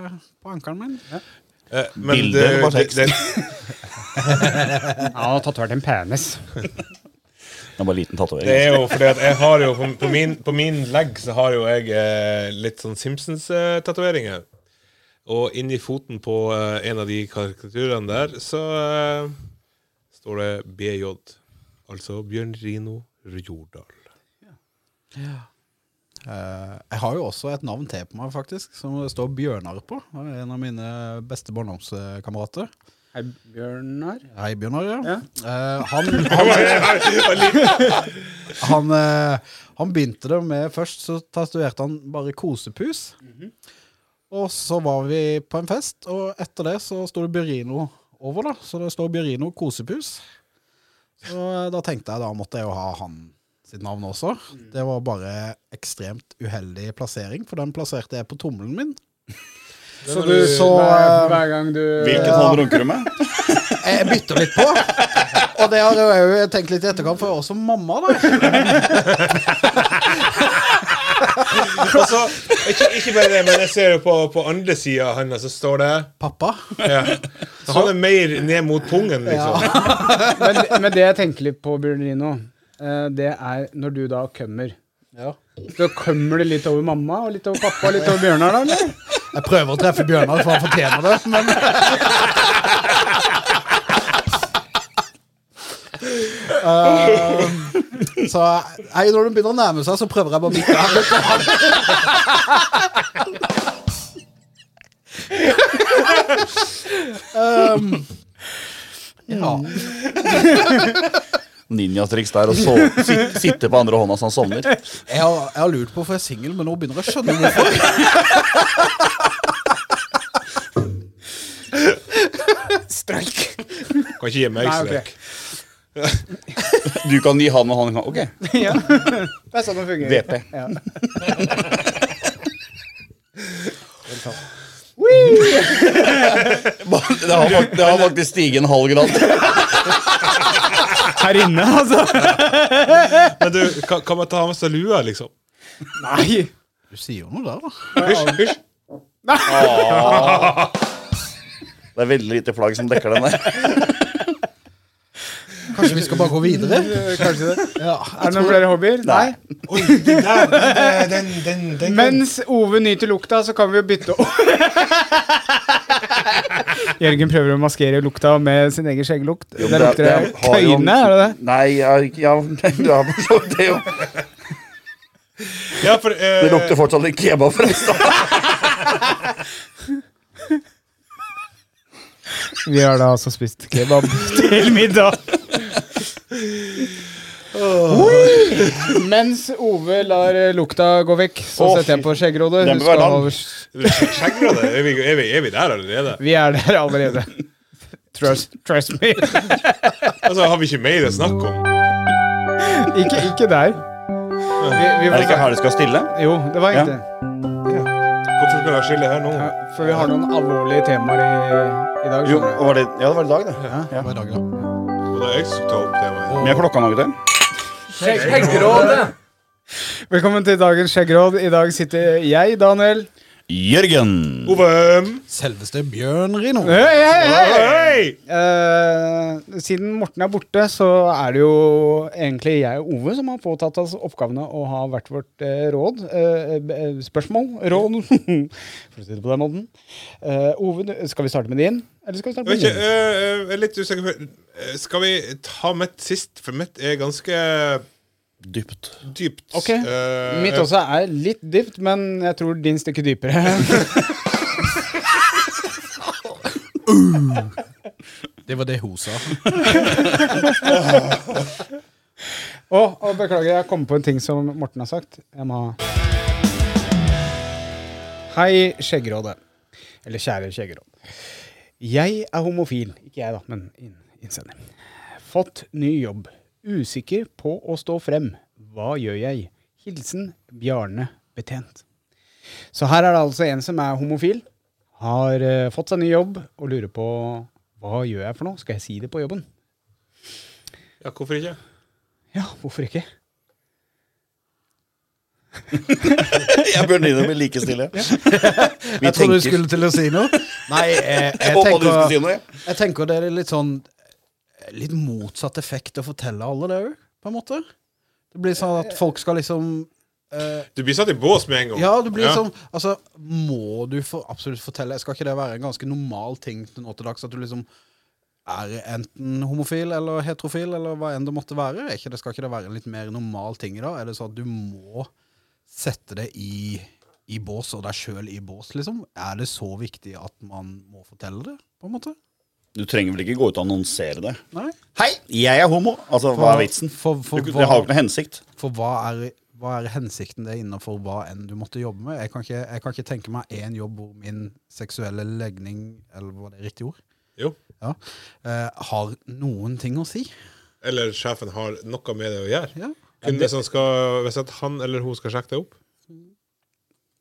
Speaker 5: eh, på ankelen min.
Speaker 2: Eh, men
Speaker 3: Bilder
Speaker 2: det,
Speaker 3: eller bare
Speaker 2: det,
Speaker 3: tekst?
Speaker 2: det,
Speaker 1: Ja, Han har tatovert en penis.
Speaker 3: Det er bare en liten tatovering. altså.
Speaker 2: det er jo fordi at jeg har jo på- På min, på min legg så har jo jeg eh, litt sånn Simpsons-tatoveringer. Og inni foten på eh, en av de karikaturene der, så eh, står det BJ. Altså Bjørn Rino Jordal.
Speaker 5: Eh, jeg har jo også et navn til på meg, faktisk, som det står Bjørnar på. Han er En av mine beste barndomskamerater.
Speaker 1: Hei, Bjørnar.
Speaker 5: Hei, Bjørnar. Ja.
Speaker 1: Ja.
Speaker 5: Eh, han han, han, eh, han begynte det med Først så tatoverte han bare kosepus. Og så var vi på en fest, og etter det så sto det Bjørino over, da. Så det står Bjørino kosepus. Så eh, da tenkte jeg da måtte jeg jo ha han sitt navn også. Det var bare ekstremt uheldig plassering, for den plasserte jeg på tommelen min.
Speaker 1: Så
Speaker 2: du-
Speaker 1: så eh, hver, hver gang du
Speaker 3: Hvilket hånd runker du med?
Speaker 5: Jeg bytter litt på. Og det har jeg jo tenkt litt i etterkant, for jeg er også mamma, da.
Speaker 2: Og så, ikke, ikke bare det, men jeg ser jo på, på andre sida av handa, så står det
Speaker 5: Pappa.
Speaker 2: ja. Så han er mer ned mot pungen, liksom.
Speaker 1: men, men det jeg tenker litt på, Bjørnrino, eh, det er når du da kommer.
Speaker 5: Ja.
Speaker 1: Så kommer det litt over mamma og litt over pappa og litt over Bjørnar, da? eller?
Speaker 5: Jeg prøver å treffe Bjørnar, for han fortjener det, men Eh, så nei, når det begynner å nærme seg, så prøver jeg bare å bikke her litt. Um, ja.
Speaker 3: Ninjatriks der og så, sit, sitte på andre hånda så han sovner.
Speaker 5: Jeg har, jeg har lurt på hvorfor jeg er singel, men nå begynner jeg å skjønne hvorfor.
Speaker 1: Streik.
Speaker 2: Kan ikke gi meg
Speaker 1: Nei, ok.
Speaker 2: strek.
Speaker 3: Du kan gi han og han kan Ok,
Speaker 1: ja. Det er sånn det fungerer.
Speaker 3: VP.
Speaker 1: Ja.
Speaker 3: Det har, fakt- det har faktisk stiget en halv grad.
Speaker 1: Her inne, altså?
Speaker 2: Men du, kan, kan man ta av seg lua, liksom?
Speaker 1: Nei.
Speaker 5: Du sier jo noe der, da.
Speaker 2: Hysj, hysj.
Speaker 3: Det er veldig lite plagg som dekker den der.
Speaker 5: Kanskje vi skal bare gå videre?
Speaker 1: Kanskje det.
Speaker 5: Ja,
Speaker 1: Er det noen flere hobbyer?
Speaker 3: Nei.
Speaker 2: Oi, den der, den, den, den, den.
Speaker 1: Mens Ove nyter lukta, så kan vi jo bytte over. Jørgen prøver å maskere lukta med sin egen skjegglukt.
Speaker 3: Jo,
Speaker 1: Det
Speaker 3: men
Speaker 1: lukter
Speaker 3: det- det har jo-
Speaker 1: køyne, er det det?
Speaker 3: Nei, jeg, ja, du har forstått det jo.
Speaker 2: Ja, for, eh,
Speaker 3: Det lukter fortsatt litt kebab, forresten.
Speaker 1: Vi har da altså spist kebab til middag. Oi! Mens Ove lar eh, lukta gå vekk, så
Speaker 3: Å,
Speaker 1: setter jeg på skjeggerådet.
Speaker 3: Den
Speaker 1: Hun
Speaker 3: bør være
Speaker 1: skal
Speaker 3: lang.
Speaker 1: over-
Speaker 2: skjegger det? Er vi, er, vi, er vi der allerede?
Speaker 1: Vi er der allerede. Trust, trust me.
Speaker 2: Altså, Har vi ikke mer å snakke om?
Speaker 1: Ikke, ikke der. Vi, vi
Speaker 3: Er det
Speaker 1: får
Speaker 3: ikke her det skal stille?
Speaker 1: se. Jo, det var
Speaker 3: Ja.
Speaker 1: egentlig det.
Speaker 2: Hvorfor skal vi ha skille her nå?
Speaker 1: Ja, For vi har noen alvorlige temaer i, i dag.
Speaker 3: Jo,
Speaker 1: skjønner du.
Speaker 3: var det, ja, det var i dag, det. Ja.
Speaker 5: Hva er dagen, da?
Speaker 2: Og da er jeg som tar opp temaet.
Speaker 3: Men jeg klokka noe til.
Speaker 1: Velkommen til dagens skjeggråd. I dag sitter jeg, Daniel.
Speaker 3: Jørgen.
Speaker 2: Ove!
Speaker 5: Selveste Bjørn Rino.
Speaker 1: Hei, hei, hei!
Speaker 2: Hei!
Speaker 1: Eh, siden Morten er borte, så er det jo egentlig jeg og Ove som har påtatt oss oppgavene å ha hvert vårt eh, råd. eh, eh, spørsmål. Råd. For å si det på den måten. Eh, Ove, du- skal vi starte med din? Eller skal vi starte med
Speaker 2: Jeg vet ikke,
Speaker 1: min?
Speaker 2: eh, jeg er litt usikker på eh, Skal vi ta mitt sist? For mitt er ganske
Speaker 3: Dypt.
Speaker 2: dypt.
Speaker 1: Ok.
Speaker 2: Eh,
Speaker 1: Mitt også er litt dypt, men jeg tror din stikker dypere.
Speaker 5: Det var det hun sa.
Speaker 1: Å, og beklager, jeg kom på en ting som Morten har sagt. Jeg må ha Hei, Skjeggrådet. Eller kjære Skjeggeråd. Jeg er homofil. Ikke jeg, da, men inn- innsender. Fått ny jobb. Usikker på å stå frem. Hva gjør jeg? Hilsen Bjarne Betjent. Så her er det altså en som er homofil, har eh, fått seg ny jobb og lurer på hva gjør jeg for noe? Skal jeg si det på jobben?
Speaker 2: Ja, hvorfor ikke?
Speaker 1: Ja, hvorfor ikke?
Speaker 3: Jeg bør begynne med like stille. Vi
Speaker 5: Jeg trodde du
Speaker 3: tenker-
Speaker 5: skulle til å si noe. Nei, jeg,
Speaker 3: Jeg
Speaker 5: jeg,
Speaker 3: håpet du skulle si
Speaker 5: tenker,
Speaker 3: noe, jeg.
Speaker 5: jeg tenker det er litt sånn Litt motsatt effekt å fortelle alle det òg, på en måte. Det blir sånn at folk skal liksom eh,
Speaker 2: Du blir satt i bås med en gang.
Speaker 5: Ja, du blir liksom Altså, må du for, absolutt fortelle Skal ikke det være en ganske normal ting til nå til dags? At du liksom er enten homofil eller heterofil, eller hva enn det måtte være? Er ikke det, skal ikke det være en litt mer normal ting i dag? Er det sånn at du må sette det i, i bås, og deg sjøl i bås, liksom? Er det så viktig at man må fortelle det, på en måte?
Speaker 3: Du trenger vel ikke gå ut og annonsere det?
Speaker 5: Nei?
Speaker 3: Hei, jeg er homo! Altså, hva er vitsen?
Speaker 5: For, for,
Speaker 3: Du, det
Speaker 5: hva-
Speaker 3: har jo ikke noe hensikt.
Speaker 5: For hva er, hva er hensikten det er innenfor hva enn du måtte jobbe med? Jeg kan ikke, jeg kan ikke tenke meg én jobb hvor min seksuelle legning, eller var det riktig ord,
Speaker 2: Jo.
Speaker 5: ja, eh, har noen ting å si.
Speaker 2: Eller sjefen har noe med det å gjøre.
Speaker 5: Ja.
Speaker 2: Kunden som skal, hvis at han eller hun skal sjekke deg opp.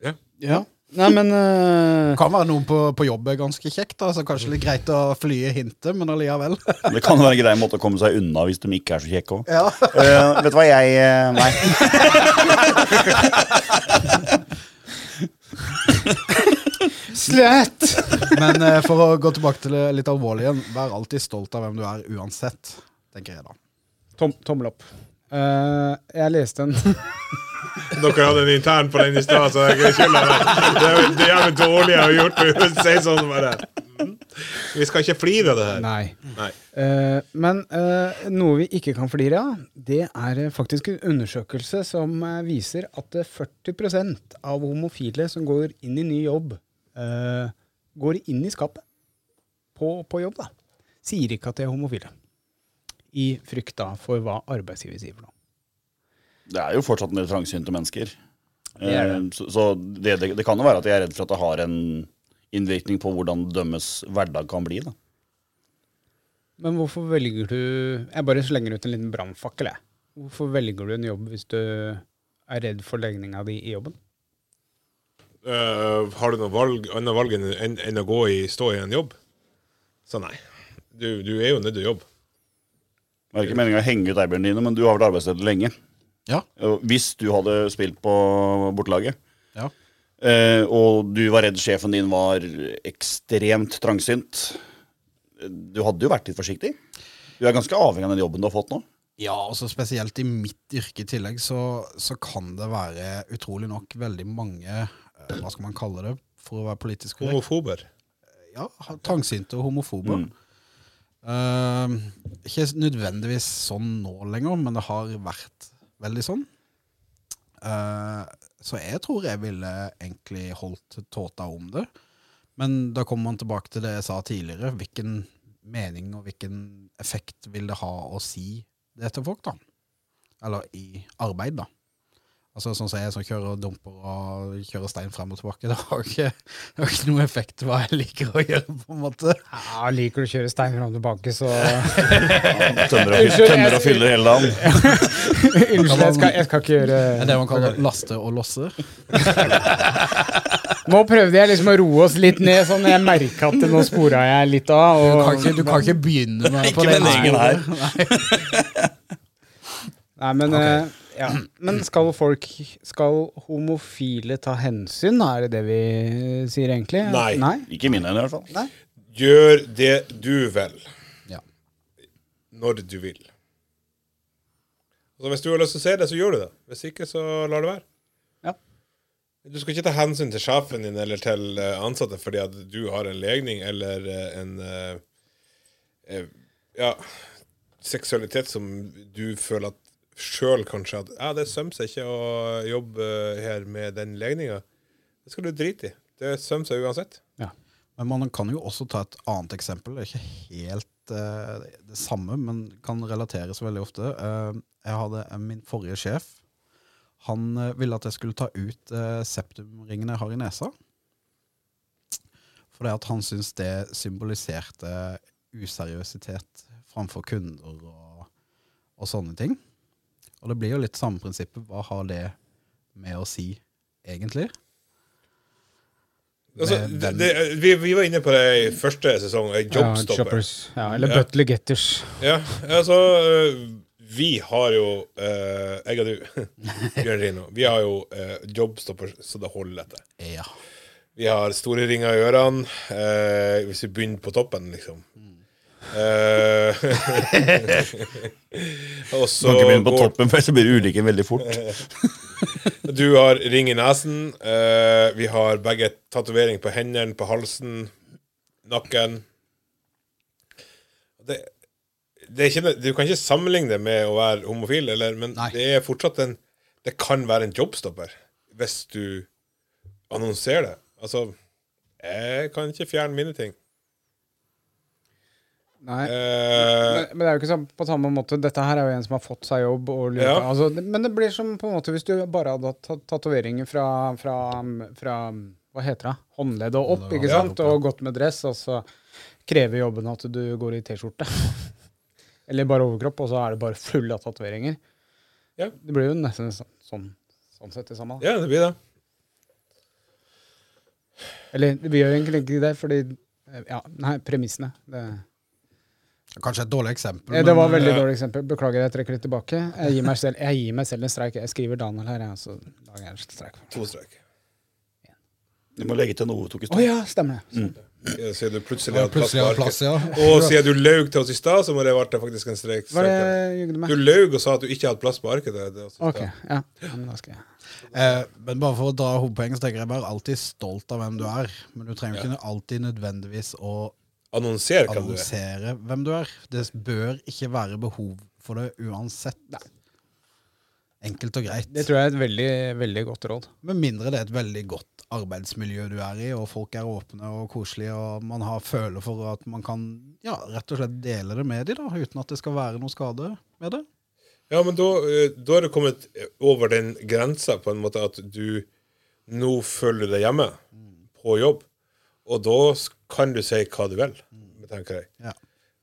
Speaker 2: Ja.
Speaker 1: Ja. Nei, men eh,
Speaker 5: Det kan være noen på, på jobb er ganske kjekt, da, så kanskje litt greit å flye hintet, men allikevel.
Speaker 3: Det kan være en grei måte å komme seg unna hvis de ikke er så kjekke òg.
Speaker 5: Ja.
Speaker 3: vet du hva jeg eh, Nei.
Speaker 1: Slett!
Speaker 5: Men eh, for å gå tilbake til det litt alvorlig igjen, vær alltid stolt av hvem du er, uansett, tenker jeg da.
Speaker 1: Tom, tommel opp. Eh, jeg leste en
Speaker 2: Dere hadde en intern på den i stad, så jeg skylder deg. Det er det jævlig dårlig jeg har gjort å si sånn bare. Mm. Vi skal ikke flire av det her.
Speaker 1: Nei.
Speaker 2: Nei.
Speaker 1: Eh, men eh, noe vi ikke kan flire av, det er eh, faktisk en undersøkelse som eh, viser at eh, 40 av homofile som går inn i ny jobb, eh, går inn i skapet på, på jobb. da. Sier ikke at de er homofile. I frykt da for hva arbeidsgiver sier for noe.
Speaker 3: Det er jo fortsatt en del trangsynte mennesker.
Speaker 1: Det er
Speaker 3: Eh, Så, så det, det, det kan jo være at jeg er redd for at det har en innvirkning på hvordan dømmes hverdag kan bli. da.
Speaker 1: Men hvorfor velger du Jeg bare slenger ut en liten brannfakkel, jeg. Hvorfor velger du en jobb hvis du er redd for legninga di i jobben?
Speaker 2: Eh, har du noe valg, annet valg enn, enn- enn å gå i, stå i en jobb? Så nei. Du, du er jo nødt til å jobbe.
Speaker 3: Det er ikke meningen å henge ut eierne dine, men du har vært arbeidsledig lenge.
Speaker 5: Ja.
Speaker 3: Og Hvis du hadde spilt på bortelaget,
Speaker 5: Ja.
Speaker 3: eh, og du var redd sjefen din var ekstremt trangsynt, du hadde jo vært litt forsiktig. Du er ganske avhengig av den jobben du har fått nå.
Speaker 5: Ja, altså spesielt i mitt yrke i tillegg, så, så kan det være utrolig nok veldig mange eh, Hva skal man kalle det, for å være politisk korrekt?
Speaker 2: Homofober.
Speaker 5: Ja, ha- trangsynte og homofobe. Eh, ikke nødvendigvis sånn nå lenger, men det har vært veldig sånn. Eh, så jeg tror jeg ville egentlig holdt tåta om det. Men da kommer man tilbake til det jeg sa tidligere. Hvilken mening og hvilken effekt vil det ha å si det til folk, da? Eller i arbeid, da. Altså Sånn som jeg som kjører dumper og kjører stein frem og tilbake. Det har ikke, det har ikke noe effekt hva jeg liker å gjøre, på en måte.
Speaker 1: Ja, Liker du å kjøre stein fram og tilbake, så Unnskyld,
Speaker 3: Tømmer og,
Speaker 1: jeg-
Speaker 3: tømmer og fyller hele dagen.
Speaker 1: Unnskyld, jeg skal, jeg skal ikke gjøre
Speaker 5: Det er det man kaller laste og losse.
Speaker 1: Nå prøvde jeg liksom å roe oss litt ned, sånn jeg merka at det- nå spora jeg litt av.
Speaker 5: Du
Speaker 1: Og,
Speaker 5: kan ikke, du kan ikke begynne med
Speaker 3: Ikke med den egen her.
Speaker 1: Nei, men, eh, ja. men skal folk Skal homofile ta hensyn? Er det det vi eh, sier, egentlig?
Speaker 2: Nei.
Speaker 1: Nei?
Speaker 3: Ikke i mine øyne, i hvert fall.
Speaker 2: Gjør det du vil,
Speaker 5: Ja.
Speaker 2: når du vil. Altså, hvis du har lyst til å si det, så gjør du det. Hvis ikke, så lar det være.
Speaker 1: Ja.
Speaker 2: Du skal ikke ta hensyn til sjefen din eller til eh, ansatte fordi at du har en legning eller eh, en eh, eh, ja, seksualitet som du føler at sjøl kanskje at ja, det sømmer seg ikke å jobbe eh, her med den legninga. Det skal du drite i. Det sømmer seg uansett.
Speaker 5: Men man kan jo også ta et annet eksempel. Det er ikke helt eh, det samme, men kan relateres veldig ofte. Eh, jeg hadde eh, min forrige sjef. Han eh, ville at jeg skulle ta ut eh, septumringen jeg har i nesa. Fordi at han syntes det symboliserte useriøsitet framfor kunder og, og sånne ting. Og det blir jo litt samme prinsippet. Hva har det med å si, egentlig?
Speaker 2: Altså, det, det, vi, vi var inne på det i første sesong, eh,
Speaker 1: Ja,
Speaker 2: Jobstopper.
Speaker 1: choppers. Ja, eller Butler Getters.
Speaker 2: Ja, altså øh, Vi har jo øh, Jeg og du, Bjørn Rino, vi har jo øh, jobbstopper så det holder etter.
Speaker 5: Ja.
Speaker 2: Vi har store ringer i ørene, øh, hvis vi begynner på toppen, liksom.
Speaker 3: Mm.
Speaker 2: Eh, og så
Speaker 3: Kan ikke begynne på
Speaker 2: går-
Speaker 3: toppen, for så blir det ulike veldig fort.
Speaker 2: Du har ring i nesen. eh, vi har begge tatovering på hendene, på halsen, nakken. Det, det er ikke, noe- du kan ikke sammenligne det med å være homofil, eller, men
Speaker 5: Nei.
Speaker 2: det er fortsatt en Det kan være en jobbstopper hvis du annonserer det. Altså Jeg kan ikke fjerne mine ting.
Speaker 1: Nei.
Speaker 2: Eh,
Speaker 1: Men men det er jo ikke sånn på samme måte. Dette her er jo en som har fått seg jobb. Og lurer
Speaker 2: Ja.
Speaker 1: på- altså, det- men det blir som på en måte hvis du bare hadde hatt tat- tatoveringer fra, fra, fra Hva heter det? Håndledd og opp, ikke
Speaker 2: Ja.
Speaker 1: sant? Og gått med dress, og så krever jobben at du går i T-skjorte. Eller bare overkropp, og så er det bare full av tatoveringer.
Speaker 2: Ja.
Speaker 1: Det blir jo nesten så- sånn, sånn sett det samme. da.
Speaker 2: ja, det blir det.
Speaker 1: Eller vi gjør egentlig ikke det, fordi eh, ja, Nei, premissene. Det
Speaker 5: Kanskje et dårlig eksempel.
Speaker 1: Eh, Det var
Speaker 5: men-
Speaker 1: et veldig dårlig eksempel. Beklager, jeg trekker litt tilbake. Jeg gir meg selv, jeg gir meg selv en streik. Jeg skriver Daniel her, jeg, så lager jeg en streik.
Speaker 2: To strek.
Speaker 3: Du må legge til noe vi tok
Speaker 1: Å
Speaker 3: i stad.
Speaker 1: ja, stemmer det.
Speaker 2: Ja, Sier du plutselig
Speaker 5: Ja,
Speaker 2: har plass
Speaker 5: plutselig
Speaker 2: på
Speaker 5: har plass,
Speaker 2: arket.
Speaker 5: ja.
Speaker 2: Og sier du laug til oss i stad, så må det ha vært faktisk en strek.
Speaker 1: Hva var det
Speaker 2: strek.
Speaker 1: jeg jugde
Speaker 2: Du
Speaker 1: med?
Speaker 2: løy og sa at du ikke hadde plass på arket. Det, det også,
Speaker 1: Ok, ja. ja men da skal jeg.
Speaker 5: Eh, men bare for å dra hovedpoenget, så tenker jeg bare alltid stolt av hvem du er. Men du trenger ikke alltid nødvendigvis å
Speaker 2: Annonser kan du det.
Speaker 5: annonsere hvem du er. Det bør ikke være behov for det uansett. Enkelt og greit.
Speaker 1: Det tror jeg er et veldig, veldig godt råd.
Speaker 5: Med mindre det er et veldig godt arbeidsmiljø du er i, og folk er åpne og koselige, og man har føler for at man kan ja, rett og slett dele det med dem, uten at det skal være noe skade med det.
Speaker 2: Ja, men da, eh, da er du kommet over den grensa på en måte at du nå følger deg hjemme på jobb, og da s- kan du si hva du vil, tenker jeg.
Speaker 5: Ja.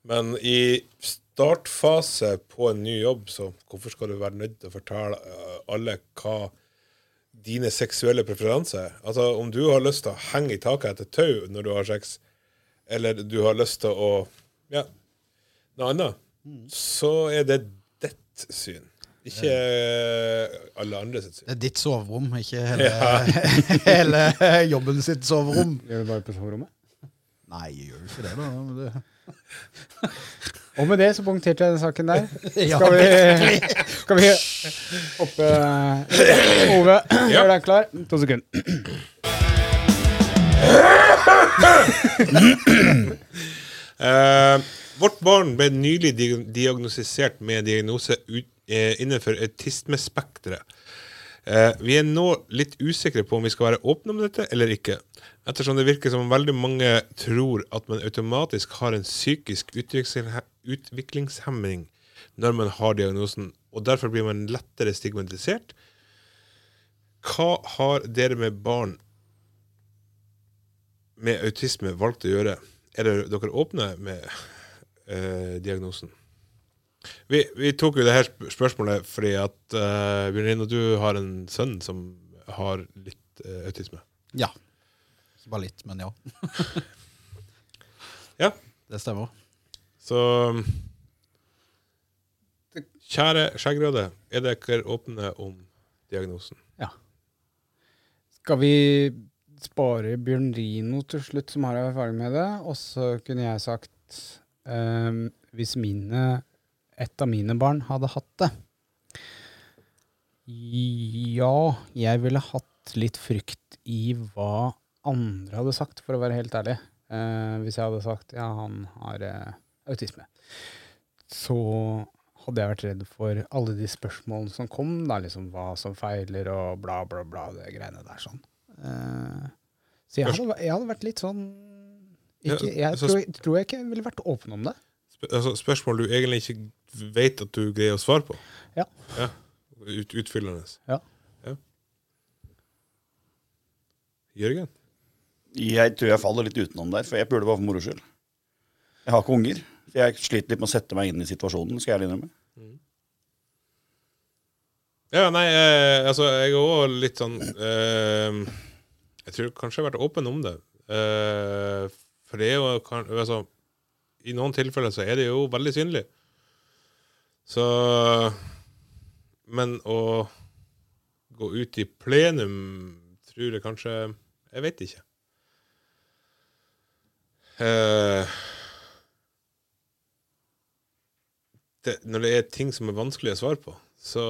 Speaker 2: Men i startfase på en ny jobb, så hvorfor skal du være nødt til å fortelle eh, alle hva dine seksuelle preferanser er? Altså, om du har lyst til å henge i taket etter tau når du har sex, eller du har lyst til å Ja, noe annet, så er det ditt syn. Ikke eh, alle andre sitt syn.
Speaker 5: Det er ditt soverom, ikke hele, hele jobben sitt soverom.
Speaker 1: Gjør du bare på soverommet?
Speaker 5: Nei, jeg gjør jo ikke det, da. men det-
Speaker 1: Og med det så punkterte jeg den saken der.
Speaker 5: Ja.
Speaker 1: Skal vi, skal vi oppe Ove, gjør deg klar. To sekunder.
Speaker 2: Eh, vårt barn ble nylig di- diagnostisert med diagnose ut, eh, innenfor autismespekteret. Eh, vi er nå litt usikre på om vi skal være åpne om dette eller ikke, ettersom det virker som veldig mange tror at man automatisk har en psykisk utviklingshemning- utviklingshemning når man har diagnosen, og derfor blir man lettere stigmatisert. Hva har dere med barn med autisme valgt å gjøre? Er det dere åpne med eh, diagnosen? Vi, vi tok jo det her sp- spørsmålet fordi at eh, Bjørn Rino, du har en sønn som har litt eh, autisme.
Speaker 5: Ja. Ikke bare litt, men ja.
Speaker 2: Ja,
Speaker 5: Det stemmer.
Speaker 2: så Kjære skjeggrøde, er dere åpne om diagnosen?
Speaker 1: Ja. Skal vi spare Bjørn Rino til slutt, som har erfaring med det? Og så kunne jeg sagt ehm, Hvis mine, et av mine barn hadde hatt det Ja, jeg ville hatt litt frykt i hva andre hadde sagt, for å være helt ærlig. Eh, hvis jeg hadde sagt ja, han har eh, autisme, så hadde jeg vært redd for alle de spørsmålene som kom, da, liksom hva som feiler og bla, bla, bla, det greiene der sånn. Eh, så jeg hadde, jeg hadde vært litt sånn ikke,
Speaker 2: Ja,
Speaker 1: Jeg
Speaker 2: så
Speaker 1: tror, tror jeg ikke jeg ville vært åpen om det.
Speaker 2: Sp altså, spørsmål du egentlig ikke vet at du greier å svare på?
Speaker 1: Ja.
Speaker 2: ja. Ut utfyllende.
Speaker 1: Ja.
Speaker 2: ja. Jørgen?
Speaker 3: Jeg tror jeg faller litt utenom der, for jeg puler bare for moro skyld. Jeg har ikke unger. så Jeg sliter litt med å sette meg inn i situasjonen, skal jeg ærlig innrømme.
Speaker 2: Ja, nei, eh, altså, jeg er òg litt sånn eh, Jeg tror kanskje jeg har vært åpen om det. Eh, for det er jo kan- altså, I noen tilfeller så er det jo veldig synlig. Så Men å gå ut i plenum tror jeg kanskje Jeg vet ikke. Eh, det, når det er ting som er vanskelig å svare på, så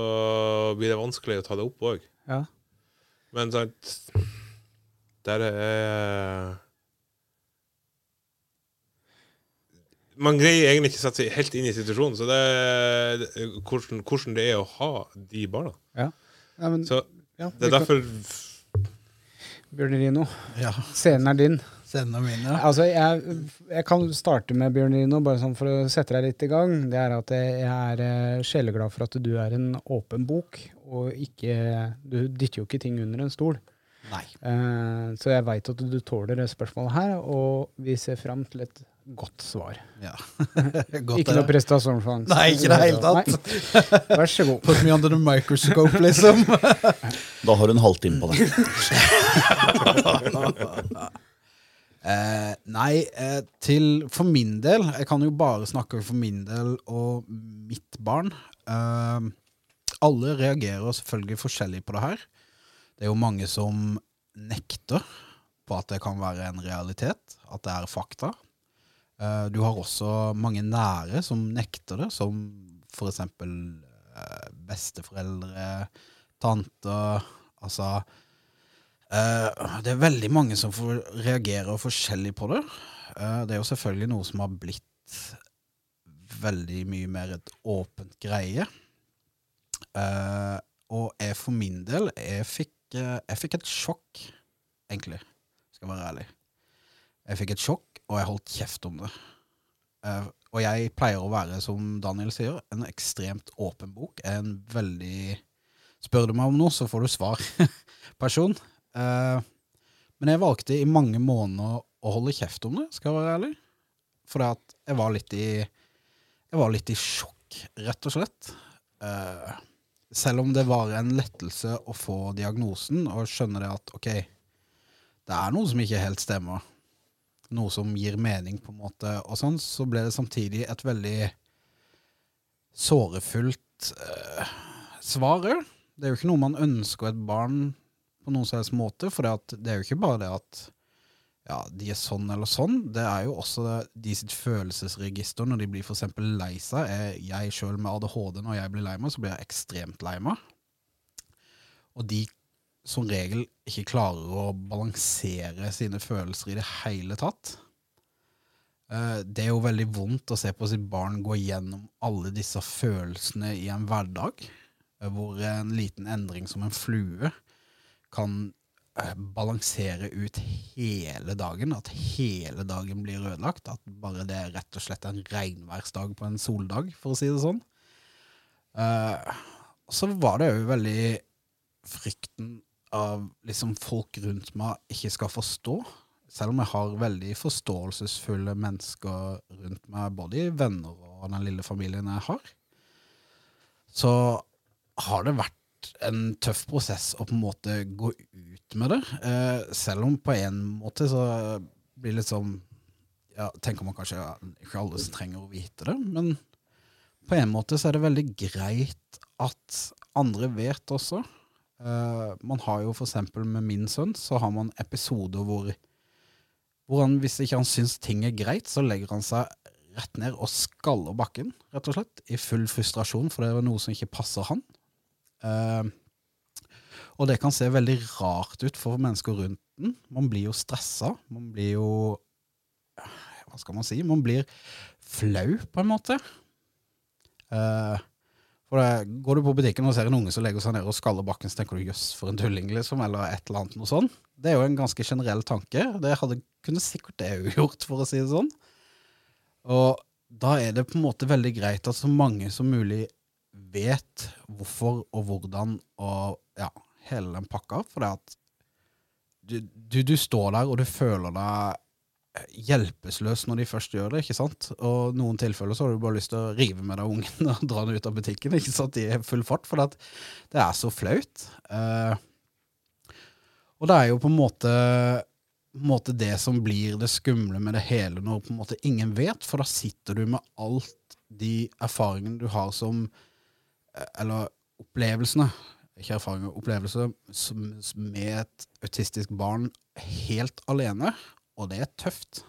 Speaker 2: blir det vanskelig å ta det opp òg.
Speaker 1: Ja.
Speaker 2: Men sant Der er eh, Man greier egentlig ikke å sette seg helt inn i situasjonen, så det er det- hvordan, hvordan det er å ha de barna.
Speaker 1: ja. Nei, men,
Speaker 2: Så
Speaker 1: ja,
Speaker 2: det er derfor
Speaker 1: Bjørn Rino,
Speaker 5: Ja,
Speaker 1: scenen er din.
Speaker 5: sendene mine.
Speaker 1: Altså, jeg, jeg kan starte med Bjørn Rino, bare sånn for å sette deg litt i gang. Det er at jeg er eh, sjeleglad for at du er en åpen bok, og ikke Du dytter jo ikke ting under en stol.
Speaker 5: Nei.
Speaker 1: Eh, Så jeg veit at du tåler det spørsmålet her, og vi ser fram til et godt svar.
Speaker 5: Ja. Godt
Speaker 1: ikke noe prestasjonsangst.
Speaker 5: Nei, ikke i det hele tatt.
Speaker 1: Nei. Vær så god.
Speaker 5: Put me under the microscope, liksom.
Speaker 3: Da har du en halvtime på det.
Speaker 5: Eh, nei, eh, til for min del Jeg kan jo bare snakke for min del og mitt barn. Eh, alle reagerer selvfølgelig forskjellig på det her. Det er jo mange som nekter på at det kan være en realitet, at det er fakta. Eh, du har også mange nære som nekter det, som for eksempel eh, besteforeldre, tanter Altså Eh, det er veldig mange som får reagerer forskjellig på det. Eh, det er jo selvfølgelig noe som har blitt veldig mye mer et åpent greie. Eh, og jeg for min del, jeg fikk, eh, jeg fikk et sjokk, egentlig. Skal være ærlig. Jeg fikk et sjokk, og jeg holdt kjeft om det. Eh, og jeg pleier å være, som Daniel sier, en ekstremt åpen bok. En veldig Spør du meg om noe, så får du svar-person. Eh, men jeg valgte i mange måneder å holde kjeft om det, skal jeg være ærlig. For at jeg var litt i Jeg var litt i sjokk, rett og slett. Eh, selv om det var en lettelse å få diagnosen og skjønne det at ok, det er noe som ikke helt stemmer. Noe som gir mening, på en måte, og sånn, så ble det samtidig et veldig sårefullt eh, svar òg. Det er jo ikke noe man ønsker et barn på noen som helst måte, for det, at, det er jo ikke bare det at ja, de er sånn eller sånn, det er jo også de sitt følelsesregister når de blir for eksempel lei seg. Jeg, jeg sjøl med ADHD, når jeg blir lei meg, så blir jeg ekstremt lei meg. Og de som regel ikke klarer å balansere sine følelser i det hele tatt. Eh, Det er jo veldig vondt å se på sitt barn gå gjennom alle disse følelsene i en hverdag, eh, hvor en liten endring som en flue kan eh, balansere ut hele dagen, at hele dagen blir ødelagt, at bare det er rett og slett en regnværsdag på en soldag, for å si det sånn. Eh, så var det jo veldig frykten av liksom folk rundt meg ikke skal forstå, selv om jeg har veldig forståelsesfulle mennesker rundt meg, både i venner og den lille familien jeg har, så har det vært en tøff prosess å på en måte gå ut med det. Eh, selv om på en måte så blir det litt sånn ja, Tenker man kanskje ja, ikke alle som trenger å vite det, men på en måte så er det veldig greit at andre vet også. Eh, man har jo for eksempel med min sønn så har man episoder hvor, hvor han, hvis ikke han syns ting er greit, så legger han seg rett ned og skaller bakken, rett og slett, i full frustrasjon, for det er noe som ikke passer han. Eh, og det kan se veldig rart ut for mennesker rundt den. Man blir jo stressa. Man blir jo Hva skal man si? Man blir flau, på en måte. Eh, for det, Går du på butikken og ser en unge som legger seg ned og skaller bakken, så tenker du 'jøss, for en tulling', liksom, eller et eller annet noe sånt. Det er jo en ganske generell tanke. Det hadde, kunne sikkert det òg gjort, for å si det sånn. Og da er det på en måte veldig greit at så mange som mulig vet hvorfor og hvordan og ja, hele den pakka. For det at du, du, du står der og du føler deg hjelpeløs når de først gjør det. ikke sant? Og noen tilfeller så har du bare lyst til å rive med deg ungen og dra den ut av butikken ikke sant? i full fart, for det, at det er så flaut. Eh, og Og det er jo på en måte, måte det som blir det skumle med det hele, når på en måte ingen vet, for da sitter du med alt de erfaringene du har som eh, Eller opplevelsene, ikke erfaringer, opplevelser som, som med et autistisk barn helt alene, og det er tøft.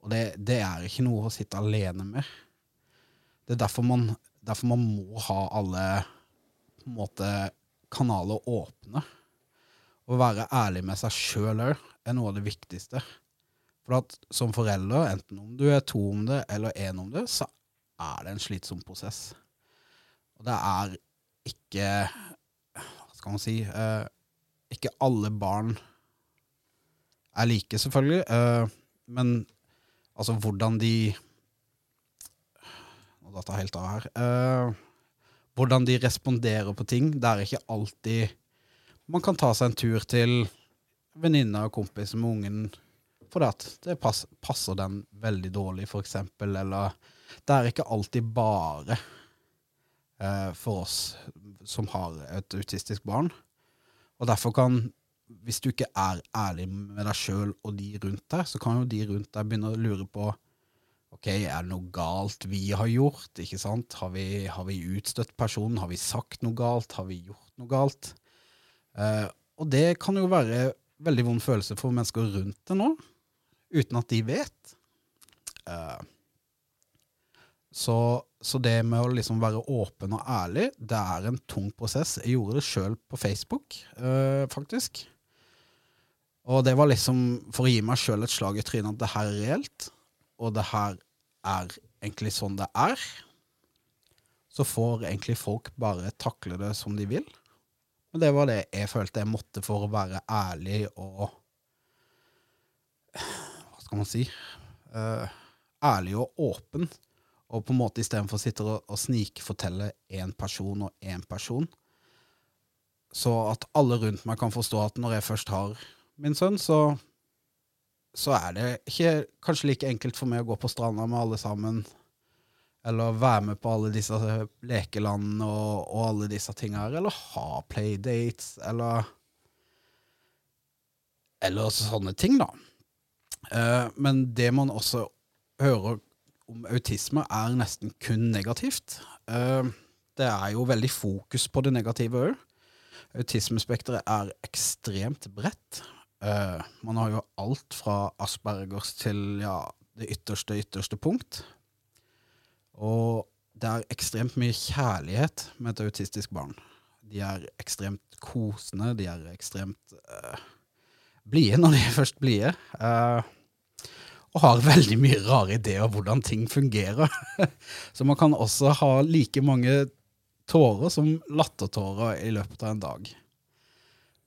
Speaker 5: Og det, det er ikke noe å sitte alene med. Det er derfor man, derfor man må ha alle på en måte, kanaler åpne. Å være ærlig med seg sjøl òg er noe av det viktigste. For at som forelder, enten om du er to om det eller én om det, så er det en slitsom prosess. Og det er ikke Hva skal man si eh, Ikke alle barn er like, selvfølgelig, eh, men altså hvordan de Nå datt jeg helt av her. Eh, hvordan de responderer på ting. Det er ikke alltid man kan ta seg en tur til venninne og kompis med ungen fordi at det pass, passer den veldig dårlig, for eksempel, eller det er ikke alltid bare eh, for oss som har et autistisk barn. Og derfor kan, hvis du ikke er ærlig med deg sjøl og de rundt deg, så kan jo de rundt deg begynne å lure på Ok, er det noe galt vi har gjort? Ikke sant? Har vi, har vi utstøtt personen? Har vi sagt noe galt? Har vi gjort noe galt? Eh, og det kan jo være veldig vond følelse for mennesker rundt det nå, uten at de vet. Eh, så, så det med å liksom være åpen og ærlig, det er en tung prosess. Jeg gjorde det sjøl på Facebook, eh, faktisk. Og det var liksom for å gi meg sjøl et slag i trynet at det her er reelt, og det her er egentlig sånn det er. Så får egentlig folk bare takle det som de vil. Men det var det jeg følte jeg måtte for å være ærlig og Hva skal man si? Eh, ærlig og åpen. Og på en måte istedenfor å sitte og, og snikfortelle én person og én person. Så at alle rundt meg kan forstå at når jeg først har min sønn, så, så er det ikke kanskje like enkelt for meg å gå på stranda med alle sammen eller være med på alle disse lekelandene og, og alle disse tingene her, eller ha playdates, eller Eller sånne ting, da. Eh, men det man også hører om autisme, er nesten kun negativt. Eh, det er jo veldig fokus på det negative òg. Autismespekteret er ekstremt bredt. Eh, man har jo alt fra aspergers til ja, det ytterste, ytterste punkt. Og det er ekstremt mye kjærlighet med et autistisk barn. De er ekstremt kosende, de er ekstremt eh, blide når de er først blide. eh, og har veldig mye rare ideer om hvordan ting fungerer. Så man kan også ha like mange tårer som lattertårer i løpet av en dag.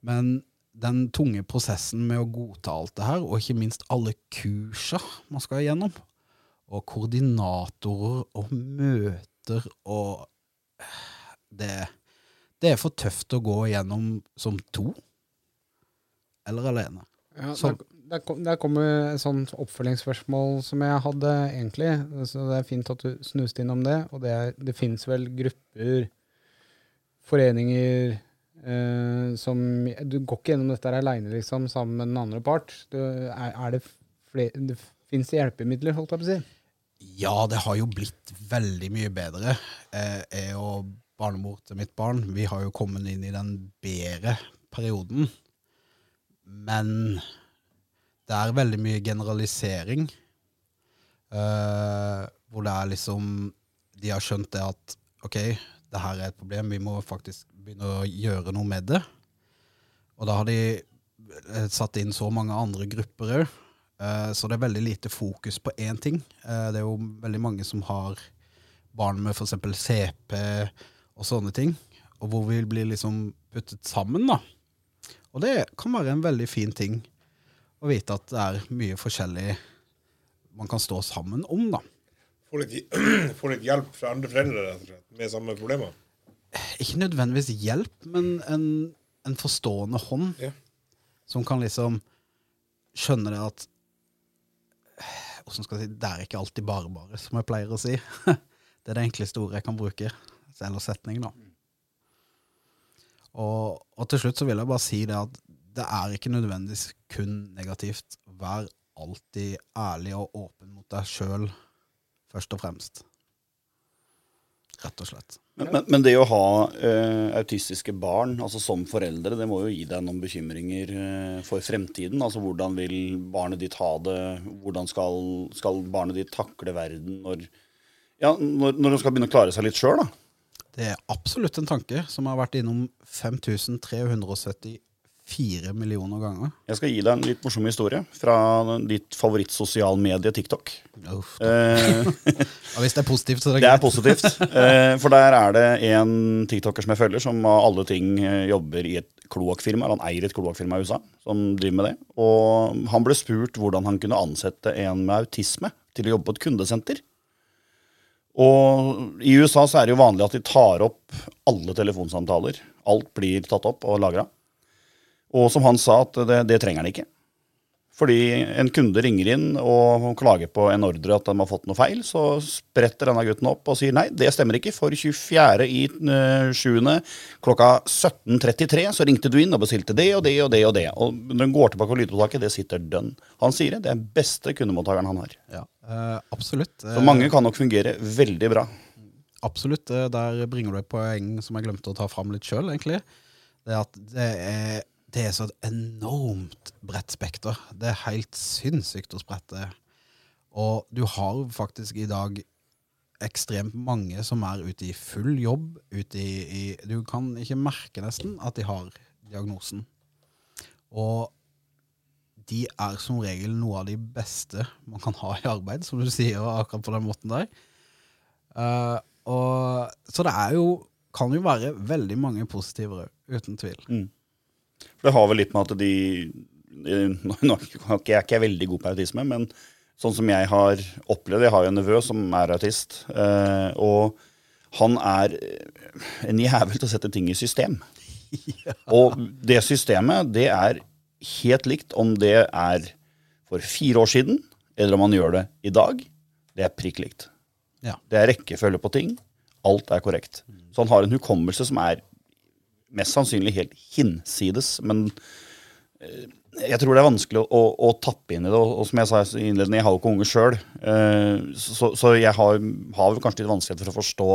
Speaker 5: Men den tunge prosessen med å godta alt det her, og ikke minst alle kursa man skal igjennom, og koordinatorer og møter og eh, det, det er for tøft å gå igjennom som to. Eller alene.
Speaker 1: Ja,
Speaker 5: Så-
Speaker 1: der, der, kom, der kommer et sånt oppfølgingsspørsmål som jeg hadde, egentlig. Så det er fint at du snuste innom det. Og det, er, det fins vel grupper, foreninger eh, som Du går ikke gjennom dette her aleine, liksom, sammen med den andre part. Du, er, er det flere det Fins det hjelpemidler, holdt jeg på å si?
Speaker 5: Ja, det har jo blitt veldig mye bedre. Eh, Jeg og barnemor til mitt barn, vi har jo kommet inn i den bedre perioden. Men det er veldig mye generalisering. Eh, hvor det er liksom De har skjønt det at OK, det her er et problem, vi må faktisk begynne å gjøre noe med det. Og da har de eh, satt inn så mange andre grupper òg. Så det er veldig lite fokus på én ting. Eh, Det er jo veldig mange som har barn med f.eks. CP og sånne ting, og hvor vi blir liksom puttet sammen, da. Og det kan være en veldig fin ting å vite at det er mye forskjellig man kan stå sammen om, da.
Speaker 2: Få litt, få litt hjelp fra andre foreldre rett og slett, med samme problemer.
Speaker 5: Ikke nødvendigvis hjelp, men en, en forstående hånd
Speaker 2: Ja.
Speaker 5: som kan liksom skjønne det at Hvordan skal jeg si Det er ikke alltid bare-bare, som jeg pleier å si. Det er det enkleste ordet jeg kan bruke. Eller setning, da. Og, og til slutt så vil jeg bare si det at det er ikke nødvendigvis kun negativt. Vær alltid ærlig og åpen mot deg sjøl, først og fremst. Rett og slett.
Speaker 3: Men, men, men det å ha eh, autistiske barn altså som foreldre, det må jo gi deg noen bekymringer eh, for fremtiden. Altså Hvordan vil barnet ditt ha det? Hvordan skal, skal barnet ditt takle verden når, ja, når, når det skal begynne å klare seg litt sjøl?
Speaker 5: Det er absolutt en tanke som har vært innom 5374 millioner ganger.
Speaker 3: Jeg skal gi deg en litt morsom historie fra ditt favorittsosialmedie TikTok.
Speaker 5: Uff.
Speaker 3: Eh,
Speaker 5: Ja, hvis det er positivt, så er det
Speaker 3: Det
Speaker 5: greit.
Speaker 3: er positivt. eh, For der er det en tiktoker som jeg følger, som av alle ting eh, jobber i et kloakkfirma. eller Han eier et kloakkfirma i USA som driver med det. Og han ble spurt hvordan han kunne ansette en med autisme til å jobbe på et kundesenter. Og i USA så er det jo vanlig at de tar opp alle telefonsamtaler. Alt blir tatt opp og lagra. Og som han sa, at det, det trenger han ikke. Fordi en kunde ringer inn og klager på en ordre at de har fått noe feil, så spretter denne gutten opp og sier nei, det stemmer ikke, for 24. i eh, 7. klokka 17.33 så ringte du inn og bestilte det og det og det og det. Og når han går tilbake på lydopptaket, det sitter dønn. Han sier det, det er den beste kundemottakeren han har.
Speaker 5: Ja, eh, absolutt. Eh,
Speaker 3: Så mange kan nok fungere veldig bra.
Speaker 5: Absolutt. eh, Der bringer du et poeng som jeg glemte å ta fram litt sjøl, egentlig. Det er at det er, det er så et enormt bredt spekter. Det er helt sinnssykt hvor spredt det er. Og du har faktisk i dag ekstremt mange som er ute i full jobb. Ute i, i Du kan ikke merke nesten at de har diagnosen. Og de er som regel noe av de beste man kan ha i arbeid, som du sier akkurat på den måten der. Eh, og, så det er jo kan jo være veldig mange positive òg, uten tvil.
Speaker 3: Det har vel litt med at de eh, Nå nå er ikke jeg er ikke veldig god på autisme, men sånn som jeg har opplevd Jeg har jo en nevø som er autist, eh, og han er eh, en jævel til å sette ting i system. Og det systemet, det er helt likt om det er for fire år siden, eller om han gjør det i dag. Det er prikk likt.
Speaker 5: Ja.
Speaker 3: Det er rekkefølge på ting. Alt er korrekt. Så han har en hukommelse som er mest sannsynlig helt hinsides, men eh, jeg tror det er vanskelig å, å, å tappe inn i det. Og, og som jeg sa i innledningen, jeg har jo ikke unger sjøl, så, så jeg har, har vel kanskje litt vanskelighet for å forstå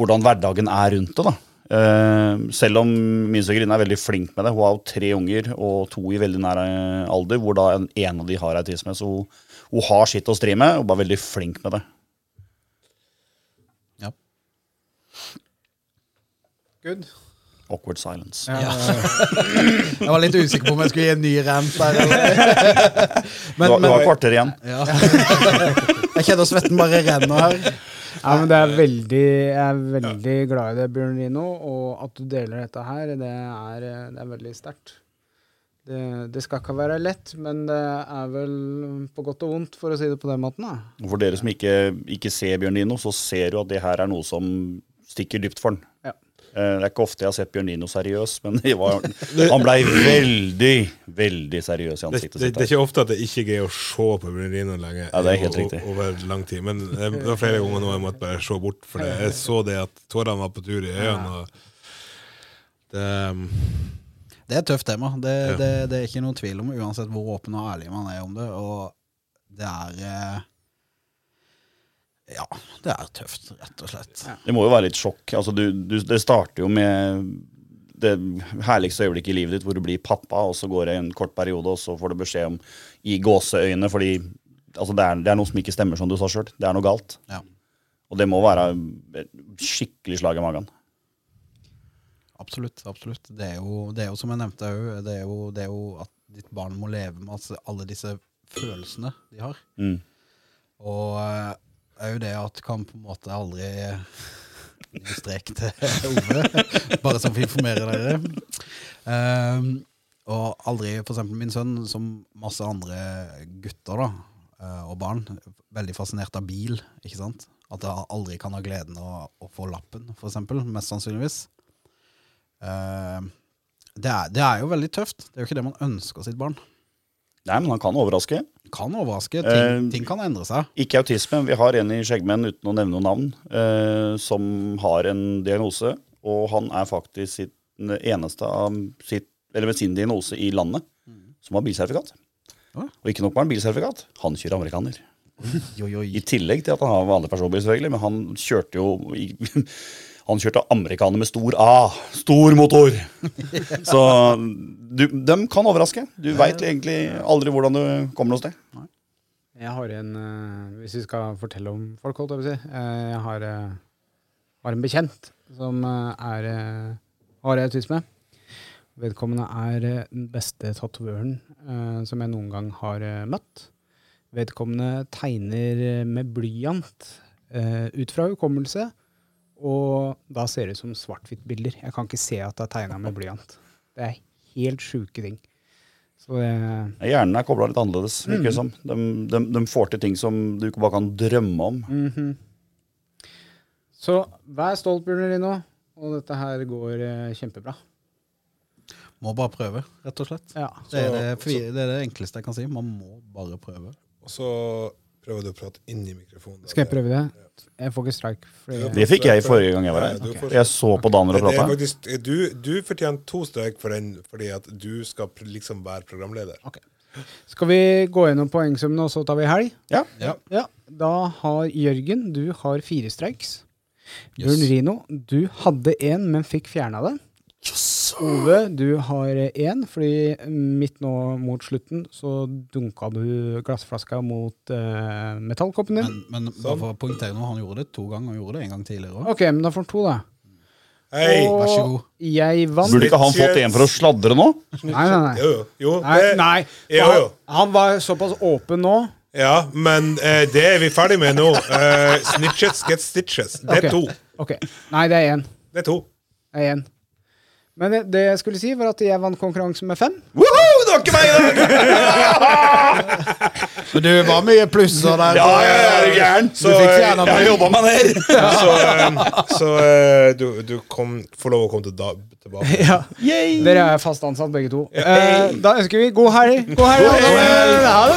Speaker 3: hvordan hverdagen er rundt det. da. Eh, selv om min svigerinne er veldig flink med det. Hun har jo tre unger og to i veldig nær eh, alder, hvor da en, en av de har autisme. Så hun, hun har sitt å stri med, og bare veldig flink med det.
Speaker 5: Ja.
Speaker 1: Good.
Speaker 3: Awkward silence.
Speaker 1: Ja,
Speaker 5: Eh, Jeg var litt usikker på om jeg skulle gi en ny rent der. Eller.
Speaker 3: du, har-
Speaker 5: Men,
Speaker 3: du har et
Speaker 5: men
Speaker 3: kvarter igjen.
Speaker 5: ja. Jeg kjenner svetten bare renner her.
Speaker 1: Ja, men det er veldig, jeg er veldig glad i det, Bjørn Lino, og at du deler dette her, det er, eh, det er veldig sterkt. Det, det skal ikke være lett, men det er vel på godt og vondt, for å si det på den måten. Da.
Speaker 3: Og For dere som ikke, ikke ser Bjørn Lino, så ser du at det her er noe som stikker dypt for han.
Speaker 1: Ja.
Speaker 3: Eh, Det er ikke ofte jeg har sett Bjørn Lino seriøs, men det var, han blei veldig, veldig seriøs i
Speaker 2: Det,
Speaker 3: ansiktet
Speaker 2: det,
Speaker 3: sitt. altså.
Speaker 2: det er
Speaker 3: her.
Speaker 2: ikke ofte at jeg ikke greier å se på Brunelino lenge.
Speaker 3: Ja, det er
Speaker 2: o-
Speaker 3: helt
Speaker 2: o-
Speaker 3: riktig.
Speaker 2: Over lang tid. Men eh, det var flere ganger nå jeg måtte bare se bort, for det. jeg så det at tårene var på tur i øynene. Og det, ehm,
Speaker 5: Det er et tøft tema. Det,
Speaker 2: Ja.
Speaker 5: det, det er ikke noen tvil om, uansett hvor åpen og ærlig man er om det. Og det er eh, Ja, det er tøft, rett og slett.
Speaker 3: Det må jo være litt sjokk. Altså, du, du, det starter jo med det herligste øyeblikket i livet ditt, hvor du blir pappa, og så går det en kort periode, og så får du beskjed om i gåseøyne, fordi altså, det, er, det er noe som ikke stemmer, som du sa sjøl. Det er noe galt.
Speaker 5: Ja,
Speaker 3: Og det må være et skikkelig slag i magen.
Speaker 5: absolutt. absolutt. Det, er jo, det er jo som jeg nevnte òg, det, er jo- det er jo at ditt barn må leve med altså, alle disse følelsene de har.
Speaker 3: Mm.
Speaker 5: Og eh, er jo det at kan på en måte aldri Ny strek til Ove, bare som vi informerer dere. Ehm, og aldri for eksempel min sønn, som masse andre gutter da, eh, og barn, veldig fascinert av bil. ikke sant? At jeg aldri kan ha gleden av å få lappen, for eksempel, mest sannsynligvis. Ehm, det, er, det er jo veldig tøft. Det er jo ikke det man ønsker sitt barn.
Speaker 3: Nei, men han kan overraske.
Speaker 5: Kan overraske. Ting,
Speaker 3: Eh,
Speaker 5: ting kan endre seg.
Speaker 3: Ikke autisme. Vi har en i Skjeggmenn, uten å nevne noe navn, eh, som har en diagnose. Og han er faktisk sitt, den eneste av sitt eller ved diagnose i landet som har bilsertifikat.
Speaker 5: Ja.
Speaker 3: Og ikke nok med han bilsertifikat, han kjører amerikaner.
Speaker 5: Oi, oi.
Speaker 3: I tillegg til at han har vanlig personbil, selvfølgelig, men han kjørte jo i- Han kjørte amerikaner med stor A. Stor motor! Så du, dem kan overraske. Du veit egentlig aldri hvordan du kommer noe sted.
Speaker 1: Jeg har en eh, Hvis vi skal fortelle om folk, holdt jeg på å si. eh, jeg har, eh, har en bekjent som eh, er eh, har autisme. Vedkommende er eh, den beste tatovøren eh, som jeg noen gang har eh, møtt. Vedkommende tegner eh, med blyant eh, ut fra hukommelse, og da ser det ut som svart-hvitt-bilder. Jeg kan ikke se at det er tegna med blyant. Det er helt sjuke ting. Så eh, det
Speaker 3: Hjernen er kobla litt annerledes. virker
Speaker 2: Mm.
Speaker 3: det som. De, de, de får til ting som du ikke bare kan drømme om.
Speaker 2: Mm.
Speaker 1: Så vær stolt, Bjørnerino. Og dette her går eh, kjempebra.
Speaker 5: Må bare prøve, rett og slett.
Speaker 1: Ja.
Speaker 5: Det er det,
Speaker 2: Så-
Speaker 5: fri, det er det enkleste jeg kan si. Man må bare prøve.
Speaker 2: Og så prøver du å prate inn i mikrofonen.
Speaker 1: Skal jeg prøve det? Jeg får ikke streik. Fordi
Speaker 3: Det fikk jeg forrige gang jeg var her.
Speaker 2: Ja, du får-
Speaker 3: Jeg så på Daner og
Speaker 2: Det er
Speaker 3: prata.
Speaker 2: faktisk, eh, du, du fortjener to strek for den, fordi at du skal pr- liksom være programleder.
Speaker 1: Skal vi gå gjennom poengsummene, og så tar vi helg?
Speaker 3: Ja.
Speaker 1: Ja. Da har Jørgen, du har fire streiks.
Speaker 5: Yes.
Speaker 1: Bjørn Rino, du hadde én, men fikk fjerna det. Ove, du har én, fordi midt nå mot slutten så dunka du glassflaska mot eh, metallkoppen din.
Speaker 5: Men, men bare for å poengtere noe, han gjorde det to ganger. Han gjorde det en gang tidligere òg.
Speaker 1: OK, men da får han to, da.
Speaker 2: Hei!
Speaker 1: og
Speaker 5: vær så god.
Speaker 1: jeg vant.
Speaker 3: Burde ikke han fått en for å sladre nå?
Speaker 1: Nei, nei, nei.
Speaker 2: Jo, jo. jo
Speaker 1: Nei,
Speaker 2: det-
Speaker 1: nei. for
Speaker 2: Jo, jo.
Speaker 1: Han, han var såpass åpen nå.
Speaker 2: Ja, men eh, det er vi ferdig med nå. Eh, snitches get stitches. Det er
Speaker 1: Ok.
Speaker 2: to.
Speaker 1: Ok. Nei, det er én.
Speaker 2: Det er to.
Speaker 1: Det er én. Men det, det jeg skulle si, var at jeg vant konkurransen med fem.
Speaker 3: Woohoo, det var ikke meg! i dag!
Speaker 5: Men det var mye plusser der.
Speaker 3: Ja, ja, ja, er du gæren?
Speaker 2: Så, eh,
Speaker 3: Jeg har jobba meg ned!
Speaker 2: så, eh, så eh, du, du kom, får lov å komme til da, tilbake.
Speaker 1: Dere er fast ansatt, begge to. Eh, da ønsker vi god helg. God helg, alle. Ha det!